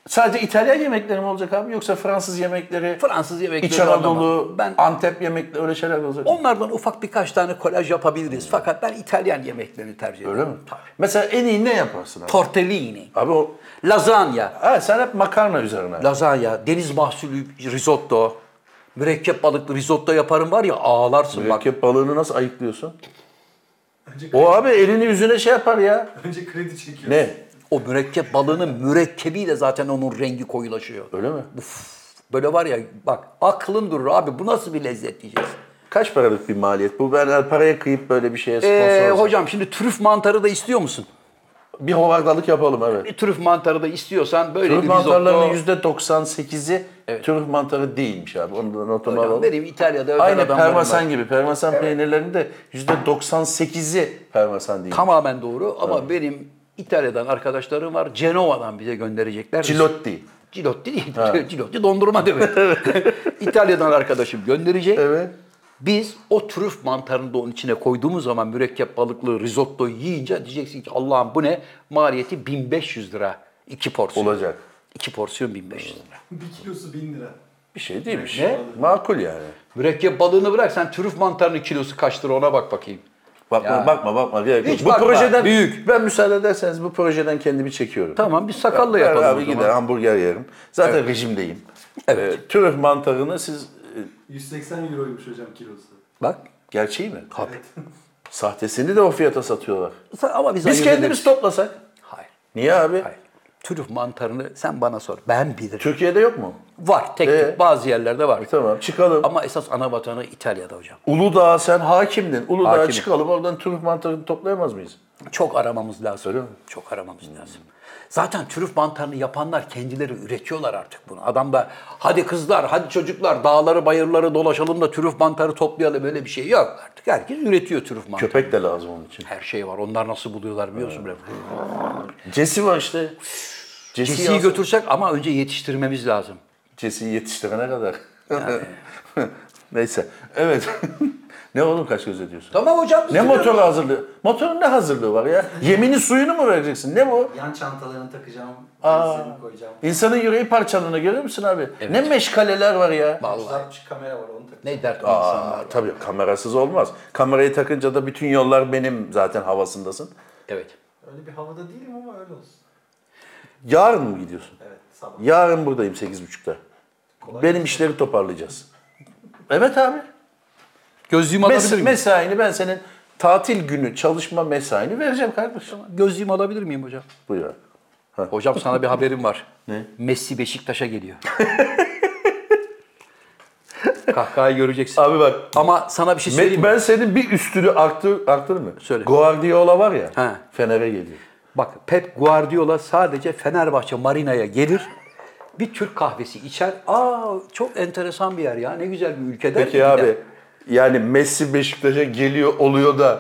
Speaker 2: Sadece İtalyan yemekleri mi olacak abi yoksa Fransız yemekleri?
Speaker 3: Fransız yemekleri
Speaker 2: İç Anadolu,
Speaker 3: anlamam. Ben
Speaker 2: Antep yemekleri öyle şeyler de olacak.
Speaker 3: onlardan ufak birkaç tane kolaj yapabiliriz. Fakat ben İtalyan yemeklerini tercih ediyorum.
Speaker 2: Öyle mi? Mesela en iyi ne yaparsın abi?
Speaker 3: Tortellini,
Speaker 2: Abi o...
Speaker 3: lazanya,
Speaker 2: Ha, sen hep makarna üzerine.
Speaker 3: lazanya, deniz mahsulü risotto, mürekkep balıklı risotto yaparım var ya ağlarsın bak.
Speaker 2: Mürekkep balığını nasıl ayıklıyorsun?
Speaker 4: Önce,
Speaker 2: O abi elini yüzüne şey yapar ya.
Speaker 4: önce kredi çekiyorsun.
Speaker 2: Ne?
Speaker 1: O mürekkep balığının mürekkebiyle zaten onun rengi koyulaşıyor.
Speaker 2: Öyle mi?
Speaker 1: Böyle var ya bak aklın durur abi bu nasıl bir lezzet diyeceksin.
Speaker 2: Kaç paralık bir maliyet bu? Ben paraya kıyıp böyle bir şeye sponsor
Speaker 1: Ee,
Speaker 2: olsam.
Speaker 1: hocam şimdi trüf mantarı da istiyor musun?
Speaker 2: Bir hovardalık yapalım evet.
Speaker 1: Bir trüf mantarı da istiyorsan böyle
Speaker 2: Türk
Speaker 1: bir risotto.
Speaker 2: mantarlarının %98'i Türk mantarı değilmiş abi. Onu da notunu
Speaker 1: Hocam
Speaker 2: alalım.
Speaker 1: vereyim İtalya'da özel
Speaker 2: Aynı
Speaker 1: adamlarım var.
Speaker 2: parmesan gibi. Parmesan peynirlerinin de %98'i parmesan değil.
Speaker 1: Tamamen doğru ama benim İtalya'dan arkadaşlarım var. Cenova'dan bize gönderecekler.
Speaker 2: Cilotti.
Speaker 1: Cilotti değil. Cilotti dondurma demek. İtalya'dan arkadaşım gönderecek.
Speaker 2: Evet.
Speaker 1: Biz o trüf mantarını da onun içine koyduğumuz zaman mürekkep balıklı risottoyu yiyince diyeceksin ki Allah'ım bu ne? Maliyeti 1500 lira. iki porsiyon.
Speaker 2: Olacak.
Speaker 1: İki porsiyon 1500 lira.
Speaker 4: Bir kilosu bin lira.
Speaker 2: Bir şey değilmiş.
Speaker 1: Ne?
Speaker 2: Makul yani.
Speaker 1: Mürekkep balığını bırak sen trüf mantarının kilosu kaç lira ona bak bakayım.
Speaker 2: Bakma
Speaker 1: Ya.
Speaker 2: bakma bakma. Gerek yok.
Speaker 1: Hiç
Speaker 2: bu
Speaker 1: bakma,
Speaker 2: projeden
Speaker 1: büyük.
Speaker 2: Ben müsaade ederseniz bu projeden kendimi çekiyorum.
Speaker 1: Tamam bir sakalla
Speaker 2: Ben
Speaker 1: yapalım
Speaker 2: abi
Speaker 1: o zaman.
Speaker 2: gider hamburger yerim. Zaten rejimdeyim. Evet. Türk mantarını siz e,
Speaker 4: 180 euroymuş hocam kilosu.
Speaker 1: Bak.
Speaker 2: gerçeği mi? Sahtesini de o fiyata satıyorlar.
Speaker 1: Ama biz,
Speaker 2: Biz
Speaker 1: ayırt
Speaker 2: kendimiz
Speaker 1: ederiz.
Speaker 2: toplasak.
Speaker 1: Hayır.
Speaker 2: Niye abi?
Speaker 1: Hayır. Trüf mantarını sen bana sor. Ben bilirim.
Speaker 2: Türkiye'de yok mu?
Speaker 1: Var tek
Speaker 2: Ee?
Speaker 1: tük bazı yerlerde var.
Speaker 2: Tamam çıkalım.
Speaker 1: Ama esas ana vatanı İtalya'da hocam.
Speaker 2: Uludağ sen hakimdin. Uludağ'a
Speaker 1: Hakimim.
Speaker 2: çıkalım oradan trüf mantarını toplayamaz mıyız?
Speaker 1: Çok aramamız lazım. Çok aramamız
Speaker 2: Hmm.
Speaker 1: lazım. Zaten trüf mantarını yapanlar kendileri üretiyorlar artık bunu. Adam da hadi kızlar, hadi çocuklar dağları bayırları dolaşalım da trüf mantarı toplayalım öyle bir şey yok artık. Herkes üretiyor trüf mantarı.
Speaker 2: Köpek de lazım onun için.
Speaker 1: Her şey var. Onlar nasıl buluyorlar biliyor musun?
Speaker 2: Cesi var işte. Cesi
Speaker 1: Cesiyi
Speaker 2: yaz-
Speaker 1: götürsek ama önce yetiştirmemiz lazım.
Speaker 2: Cesiyi yetiştirene kadar. Neyse. Evet. ne oğlum kaç göz ediyorsun?
Speaker 1: Tamam hocam.
Speaker 2: Ne motor hazırlığı? Motorun ne hazırlığı var ya? Yemini suyunu mu vereceksin? Ne bu?
Speaker 4: Yan çantalarını takacağım,
Speaker 2: Aa.
Speaker 4: hepsini koyacağım.
Speaker 2: İnsanın yüreği parçalanıyor görüyor musun abi? Ne meşgaleler var ya.
Speaker 1: Vallahi
Speaker 4: 360 kamera var onu takacağım.
Speaker 1: ne dert
Speaker 2: Aa,
Speaker 1: insanlar.
Speaker 2: tabii kamerasız olmaz. Kamerayı takınca da bütün yollar benim zaten havasındasın.
Speaker 1: Evet.
Speaker 4: Öyle bir havada değilim ama öyle olsun.
Speaker 2: Yarın mı gidiyorsun?
Speaker 4: Evet sabah.
Speaker 2: Yarın buradayım 8.30'da. Benim işleri toparlayacağız. Evet abi.
Speaker 1: Gözlüğümü
Speaker 2: Mes-
Speaker 1: alabilir miyim?
Speaker 2: mesaini ben senin tatil günü çalışma mesaini vereceğim kardeşim.
Speaker 1: Gözlüğümü alabilir miyim hocam?
Speaker 2: Buyur abi.
Speaker 1: Hocam sana bir haberim var.
Speaker 2: Ne?
Speaker 1: Messi Beşiktaş'a geliyor. Kahkahayı göreceksin.
Speaker 2: Abi bak
Speaker 1: Ama sana bir şey
Speaker 2: Me-
Speaker 1: söyleyeyim mi?
Speaker 2: ben senin bir üstünü arttır, arttırır mı?
Speaker 1: Söyle.
Speaker 2: Guardiola var ya.
Speaker 1: Ha.
Speaker 2: Fener'e geliyor.
Speaker 1: Bak Pep Guardiola sadece Fenerbahçe Marina'ya gelir. Bir Türk kahvesi içer. Aa çok enteresan bir yer ya. Ne güzel bir ülkede.
Speaker 2: Peki abi yani Messi Beşiktaş'a geliyor oluyor da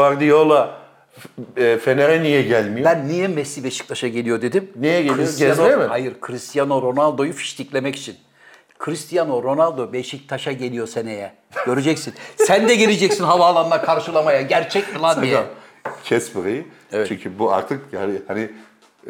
Speaker 2: Guardiola F- e, Fener'e niye gelmiyor?
Speaker 1: Ben niye Messi Beşiktaş'a geliyor dedim.
Speaker 2: Niye geliyor?
Speaker 1: Cristiano-
Speaker 2: Gezmeye mi?
Speaker 1: Hayır Cristiano Ronaldo'yu fiştiklemek için. Cristiano Ronaldo Beşiktaş'a geliyor seneye. Göreceksin. Sen de geleceksin havaalanına karşılamaya. Gerçek mi lan diye.
Speaker 2: Hocam, Kes burayı. Çünkü bu artık yani hani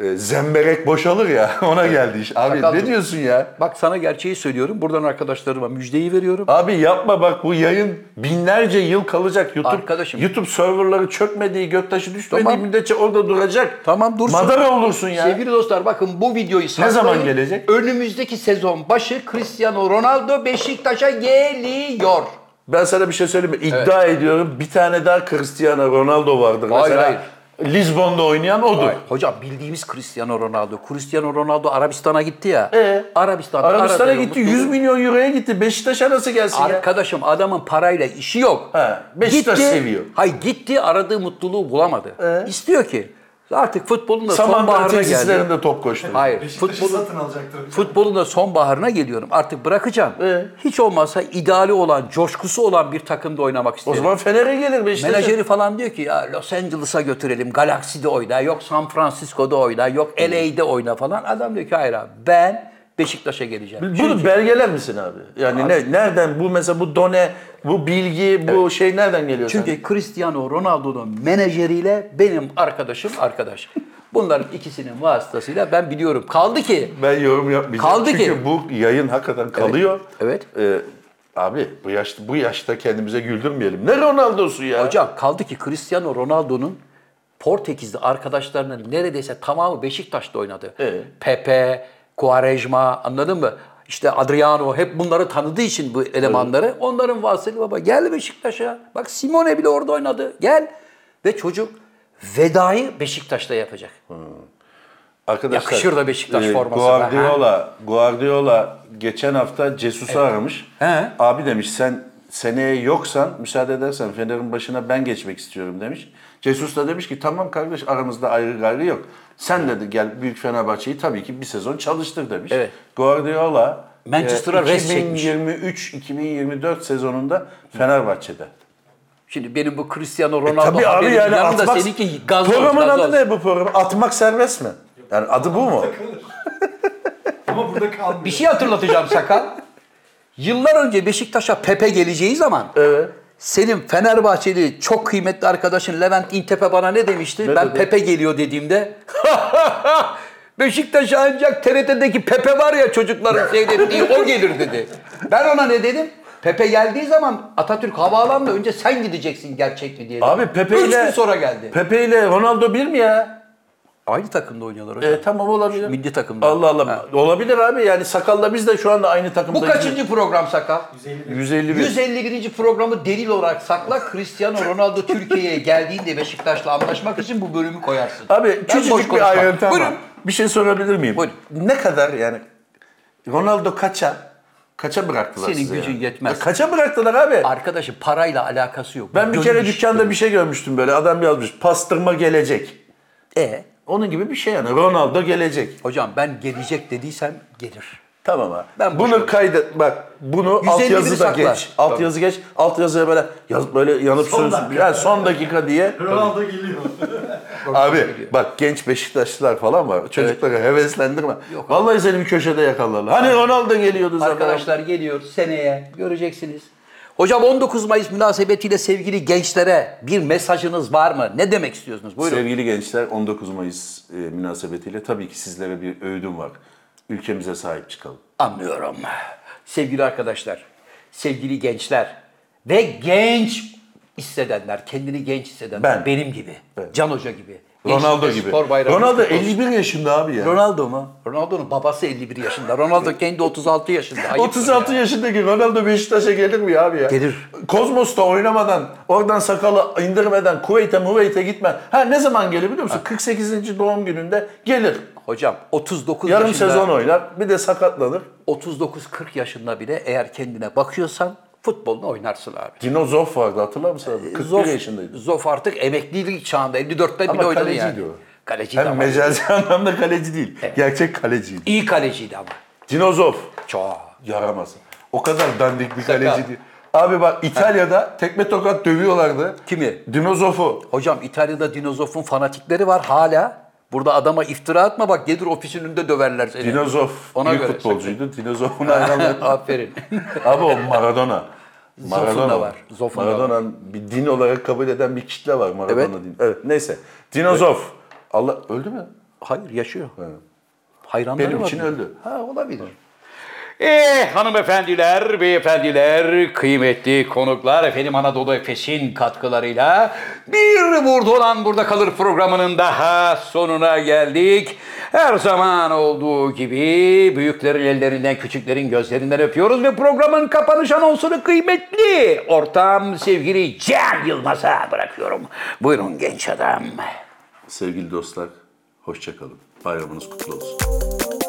Speaker 2: e, zemberek boşalır ya ona geldi iş. Abi
Speaker 1: Sakal
Speaker 2: ne
Speaker 1: dur.
Speaker 2: diyorsun ya?
Speaker 1: Bak sana gerçeği söylüyorum. Buradan arkadaşlarıma müjdeyi veriyorum.
Speaker 2: Abi yapma bak bu yayın binlerce yıl kalacak. YouTube
Speaker 1: Arkadaşım.
Speaker 2: YouTube serverları çökmediği, göktaşı düşmediği
Speaker 1: Tamam.
Speaker 2: müddetçe orada duracak.
Speaker 1: Tamam, dursun.
Speaker 2: Madara olursun ya.
Speaker 1: Sevgili dostlar bakın bu videoyu saklayın.
Speaker 2: zaman gelecek?
Speaker 1: Önümüzdeki sezon başı Cristiano Ronaldo Beşiktaş'a geliyor.
Speaker 2: Ben sana bir şey söyleyeyim mi? İddia ediyorum bir tane daha Cristiano Ronaldo vardır.
Speaker 1: Hayır,
Speaker 2: Mesela Lizbon'da oynayan odur.
Speaker 1: Hocam bildiğimiz Cristiano Ronaldo. Cristiano Ronaldo Arabistan'a gitti ya.
Speaker 2: Ee?
Speaker 1: Arabistan'da
Speaker 2: Arabistan'a
Speaker 1: arada
Speaker 2: gitti
Speaker 1: yolunu
Speaker 2: 100
Speaker 1: buldu.
Speaker 2: milyon euroya gitti. Beşiktaş'a nasıl gelsin ya?
Speaker 1: Arkadaşım adamın parayla işi yok.
Speaker 2: He, Beşiktaş seviyor. Ee?
Speaker 1: Hayır gitti aradığı mutluluğu bulamadı. İstiyor ki artık futbolun da
Speaker 2: Samandıra
Speaker 1: sonbaharına geldi.
Speaker 2: tesislerinde top koştu.
Speaker 1: Hayır
Speaker 4: Beşiktaş'ı
Speaker 1: futbolun
Speaker 4: satın alacaktır. hocam.
Speaker 1: Futbolun da sonbaharına geliyorum. Artık bırakacağım.
Speaker 2: Ee?
Speaker 1: Hiç olmazsa ideali olan, coşkusu olan bir takımda oynamak
Speaker 2: O
Speaker 1: istiyorum.
Speaker 2: zaman Fener'e gelir Beşiktaş'a.
Speaker 1: Menajeri falan diyor ki ya Los Angeles'a götürelim, Galaxy'de oyna, yok San Francisco'da oyna, yok LA'de oyna falan. Adam diyor ki hayır abi ben Beşiktaş'a geleceğim.
Speaker 2: Bunu belgeler misin abi? Yani ne, nereden bu mesela bu done, bu bilgi, bu şey nereden geliyor? sence?
Speaker 1: Çünkü Cristiano Ronaldo'nun menajeriyle benim arkadaşım arkadaş. Bunların ikisinin vasıtasıyla ben biliyorum. Kaldı ki
Speaker 2: ben yorum yapmayacağım.
Speaker 1: Kaldı
Speaker 2: Çünkü
Speaker 1: ki-
Speaker 2: bu yayın hakikaten kalıyor.
Speaker 1: Evet.
Speaker 2: Ee, abi bu yaşta bu yaşta kendimize güldürmeyelim. Ne Ronaldo'su ya?
Speaker 1: Hocam kaldı ki Cristiano Ronaldo'nun Portekizli arkadaşlarının neredeyse tamamı Beşiktaş'ta oynadı.
Speaker 2: Evet.
Speaker 1: Pepe, Quaresma anladın mı? İşte Adriano hep bunları tanıdığı için bu elemanları. Onların vasıtasıyla baba gel Beşiktaş'a. Bak Simone bile orada oynadı. Gel. Ve çocuk vedayı Beşiktaş'ta yapacak.
Speaker 2: Arkadaşlar, e,
Speaker 1: Yakışır da Beşiktaş forması da, ha?
Speaker 2: Guardiola, Guardiola geçen hafta Cesus'u aramış.
Speaker 1: He.
Speaker 2: Abi demiş sen seneye yoksan müsaade edersen Fener'in başına ben geçmek istiyorum demiş. Cesus da demiş ki tamam kardeş aramızda ayrı gayrı yok. Sen dedi gel Büyük Fenerbahçe'yi tabii ki bir sezon çalıştır demiş.
Speaker 1: Evet.
Speaker 2: Guardiola e,
Speaker 1: Manchester'a res çekmiş.
Speaker 2: 2023-2024 sezonunda Fenerbahçe'de.
Speaker 1: Şimdi benim bu Cristiano
Speaker 2: E
Speaker 1: Ronaldo
Speaker 2: tabii abi
Speaker 1: haberim
Speaker 2: yani
Speaker 1: yanında
Speaker 2: atmak...
Speaker 1: seninki gazoz.
Speaker 2: Programın
Speaker 1: gazoz.
Speaker 2: adı ne bu program? Atmak serbest mi? Yani adı bu mu?
Speaker 4: Ama burada kalmıyor.
Speaker 1: Bir şey hatırlatacağım sakal. Yıllar önce Beşiktaş'a Pepe geleceği zaman senin Fenerbahçeli çok kıymetli arkadaşın Levent İntepe bana ne demişti? ben
Speaker 2: dedi?
Speaker 1: Pepe geliyor dediğimde Beşiktaş ancak TRT'deki Pepe var ya çocukların seyrettiği o gelir dedi. Ben ona ne dedim? Pepe geldiği zaman Atatürk Havaalanı'na önce sen gideceksin gerçek mi diye. dedim.
Speaker 2: Abi Pepe
Speaker 1: Üç gün
Speaker 2: ile
Speaker 1: sonra geldi.
Speaker 2: Pepe ile Ronaldo bir mi ya?
Speaker 1: Aynı takımda oynuyorlar hocam.
Speaker 2: E, tamam olabilir.
Speaker 1: Milli takımda.
Speaker 2: Allah Allah.
Speaker 1: Ha.
Speaker 2: Olabilir abi yani sakalla biz de şu anda aynı
Speaker 1: Bu
Speaker 2: takımda.
Speaker 1: kaçıncı program sakal?
Speaker 4: 150
Speaker 2: 151.
Speaker 1: 151. programı delil olarak sakla. Cristiano Ronaldo Türkiye'ye geldiğinde Beşiktaş'la anlaşmak için bu bölümü koyarsın.
Speaker 2: Abi
Speaker 1: Ben boş
Speaker 2: küçücük
Speaker 1: konuşmam.
Speaker 2: bir ayrıntı ama.
Speaker 1: Buyurun.
Speaker 2: Bir şey sorabilir miyim?
Speaker 1: Buyurun.
Speaker 2: Ne kadar yani Ronaldo kaça? Kaça bıraktılar
Speaker 1: Senin
Speaker 2: size
Speaker 1: gücün
Speaker 2: yani?
Speaker 1: yetmez.
Speaker 2: Ya E, Kaça bıraktılar abi?
Speaker 1: Arkadaşım parayla alakası yok.
Speaker 2: Ben bir kere
Speaker 1: Dönüş.
Speaker 2: dükkanda bir şey görmüştüm böyle. Adam yazmış pastırma gelecek.
Speaker 1: E,
Speaker 2: Onun gibi bir şey yani. Ronaldo gelecek.
Speaker 1: hocam ben gelecek dediysem gelir.
Speaker 2: Tamam abi.
Speaker 1: Ben boş
Speaker 2: bunu kaydet bak. Bunu
Speaker 1: 150'ini
Speaker 2: altyazı da
Speaker 1: sakla.
Speaker 2: geç. Altyazı geç. Altyazıya böyle yaz böyle yanıp
Speaker 4: Son
Speaker 2: söz
Speaker 4: dakika.
Speaker 2: yani son dakika diye.
Speaker 4: Ronaldo geliyor.
Speaker 2: Abi bak genç Beşiktaşlılar falan var. Çocukları heveslendirme.
Speaker 1: Yok.
Speaker 2: Vallahi seni bir köşede yakalarlar. Hani Ronaldo geliyordu zaten.
Speaker 1: Arkadaşlar geliyor seneye göreceksiniz. Hocam 19 Mayıs münasebetiyle sevgili gençlere bir mesajınız var mı? Ne demek istiyorsunuz? Buyurun.
Speaker 2: Sevgili gençler 19 Mayıs e, münasebetiyle tabii ki sizlere bir öğüdüm var. Ülkemize sahip çıkalım.
Speaker 1: Anlıyorum. Sevgili arkadaşlar, sevgili gençler ve genç hissedenler, kendini genç hissedenler
Speaker 2: Ben.
Speaker 1: benim gibi, Can Hoca gibi.
Speaker 2: Ronaldo
Speaker 1: Gençlikte
Speaker 2: gibi.
Speaker 1: spor bayramı
Speaker 2: Ronaldo
Speaker 1: kutlu olsun.
Speaker 2: 51 yaşında abi ya.
Speaker 1: Ronaldo mu? Ronaldo'nun babası 51 yaşında. Ronaldo kendi 36 yaşında. Ayıptır
Speaker 2: 36
Speaker 1: ya.
Speaker 2: yaşındaki Ronaldo Beşiktaş'a gelir mi abi ya?
Speaker 1: Gelir.
Speaker 2: Kozmos'ta oynamadan, oradan sakalı indirmeden, Kuveyt'e Muveyt'e gitme. Ha ne zaman gelir biliyor musun? 48. doğum gününde gelir.
Speaker 1: Hocam 39
Speaker 2: Yarım
Speaker 1: yaşında,
Speaker 2: sezon oynar. Bir de sakatlanır.
Speaker 1: 39-40 yaşında bile eğer kendine bakıyorsan futbolunu oynarsın abi.
Speaker 2: Dino Zoff vardı hatırlar mısın abi? 41
Speaker 1: Zof,
Speaker 2: yaşındaydı.
Speaker 1: Zof artık emeklilik çağında 54'te bile
Speaker 2: Ama
Speaker 1: oynadı
Speaker 2: kaleciydi
Speaker 1: yani.
Speaker 2: o.
Speaker 1: Kaleciydi
Speaker 2: Hem
Speaker 1: ama.
Speaker 2: mecazi anlamda kaleci değil. Gerçek kaleciydi.
Speaker 1: İyi kaleciydi ama.
Speaker 2: Dino Zoff.
Speaker 1: Çok.
Speaker 2: Yaramaz. O kadar dandik bir
Speaker 1: Sakal.
Speaker 2: kaleci değil. Abi bak İtalya'da tekme tokat dövüyorlardı.
Speaker 1: Kimi?
Speaker 2: Dino Zoff'u.
Speaker 1: Hocam İtalya'da dinozofun fanatikleri var hala. Burada adama iftira atma bak gelir ofisin önünde döverler seni.
Speaker 2: Dinozof
Speaker 1: Ona
Speaker 2: iyi
Speaker 1: göre
Speaker 2: futbolcuydu. Dinozof'un hayranları.
Speaker 1: Aferin.
Speaker 2: Abi o Maradona.
Speaker 1: Zof'un da var, Zof'un da
Speaker 2: Maradona'nın bir din olarak kabul eden bir kitle var Maradona
Speaker 1: Evet.
Speaker 2: din. Evet. Neyse. Dinozof. Allah öldü mü?
Speaker 1: Hayır yaşıyor. Hayranları
Speaker 2: Benim
Speaker 1: var
Speaker 2: için
Speaker 1: bunun.
Speaker 2: öldü.
Speaker 1: Ha olabilir.
Speaker 3: Eh hanımefendiler, beyefendiler, kıymetli konuklar efendim Anadolu Efes'in katkılarıyla bir burada olan burada kalır programının daha sonuna geldik. Her zaman olduğu gibi büyüklerin ellerinden, küçüklerin gözlerinden öpüyoruz ve programın kapanış anonsunu kıymetli ortam sevgili Cem Yılmaz'a bırakıyorum. Buyurun genç adam.
Speaker 2: Sevgili dostlar, hoşçakalın. Bayramınız kutlu olsun.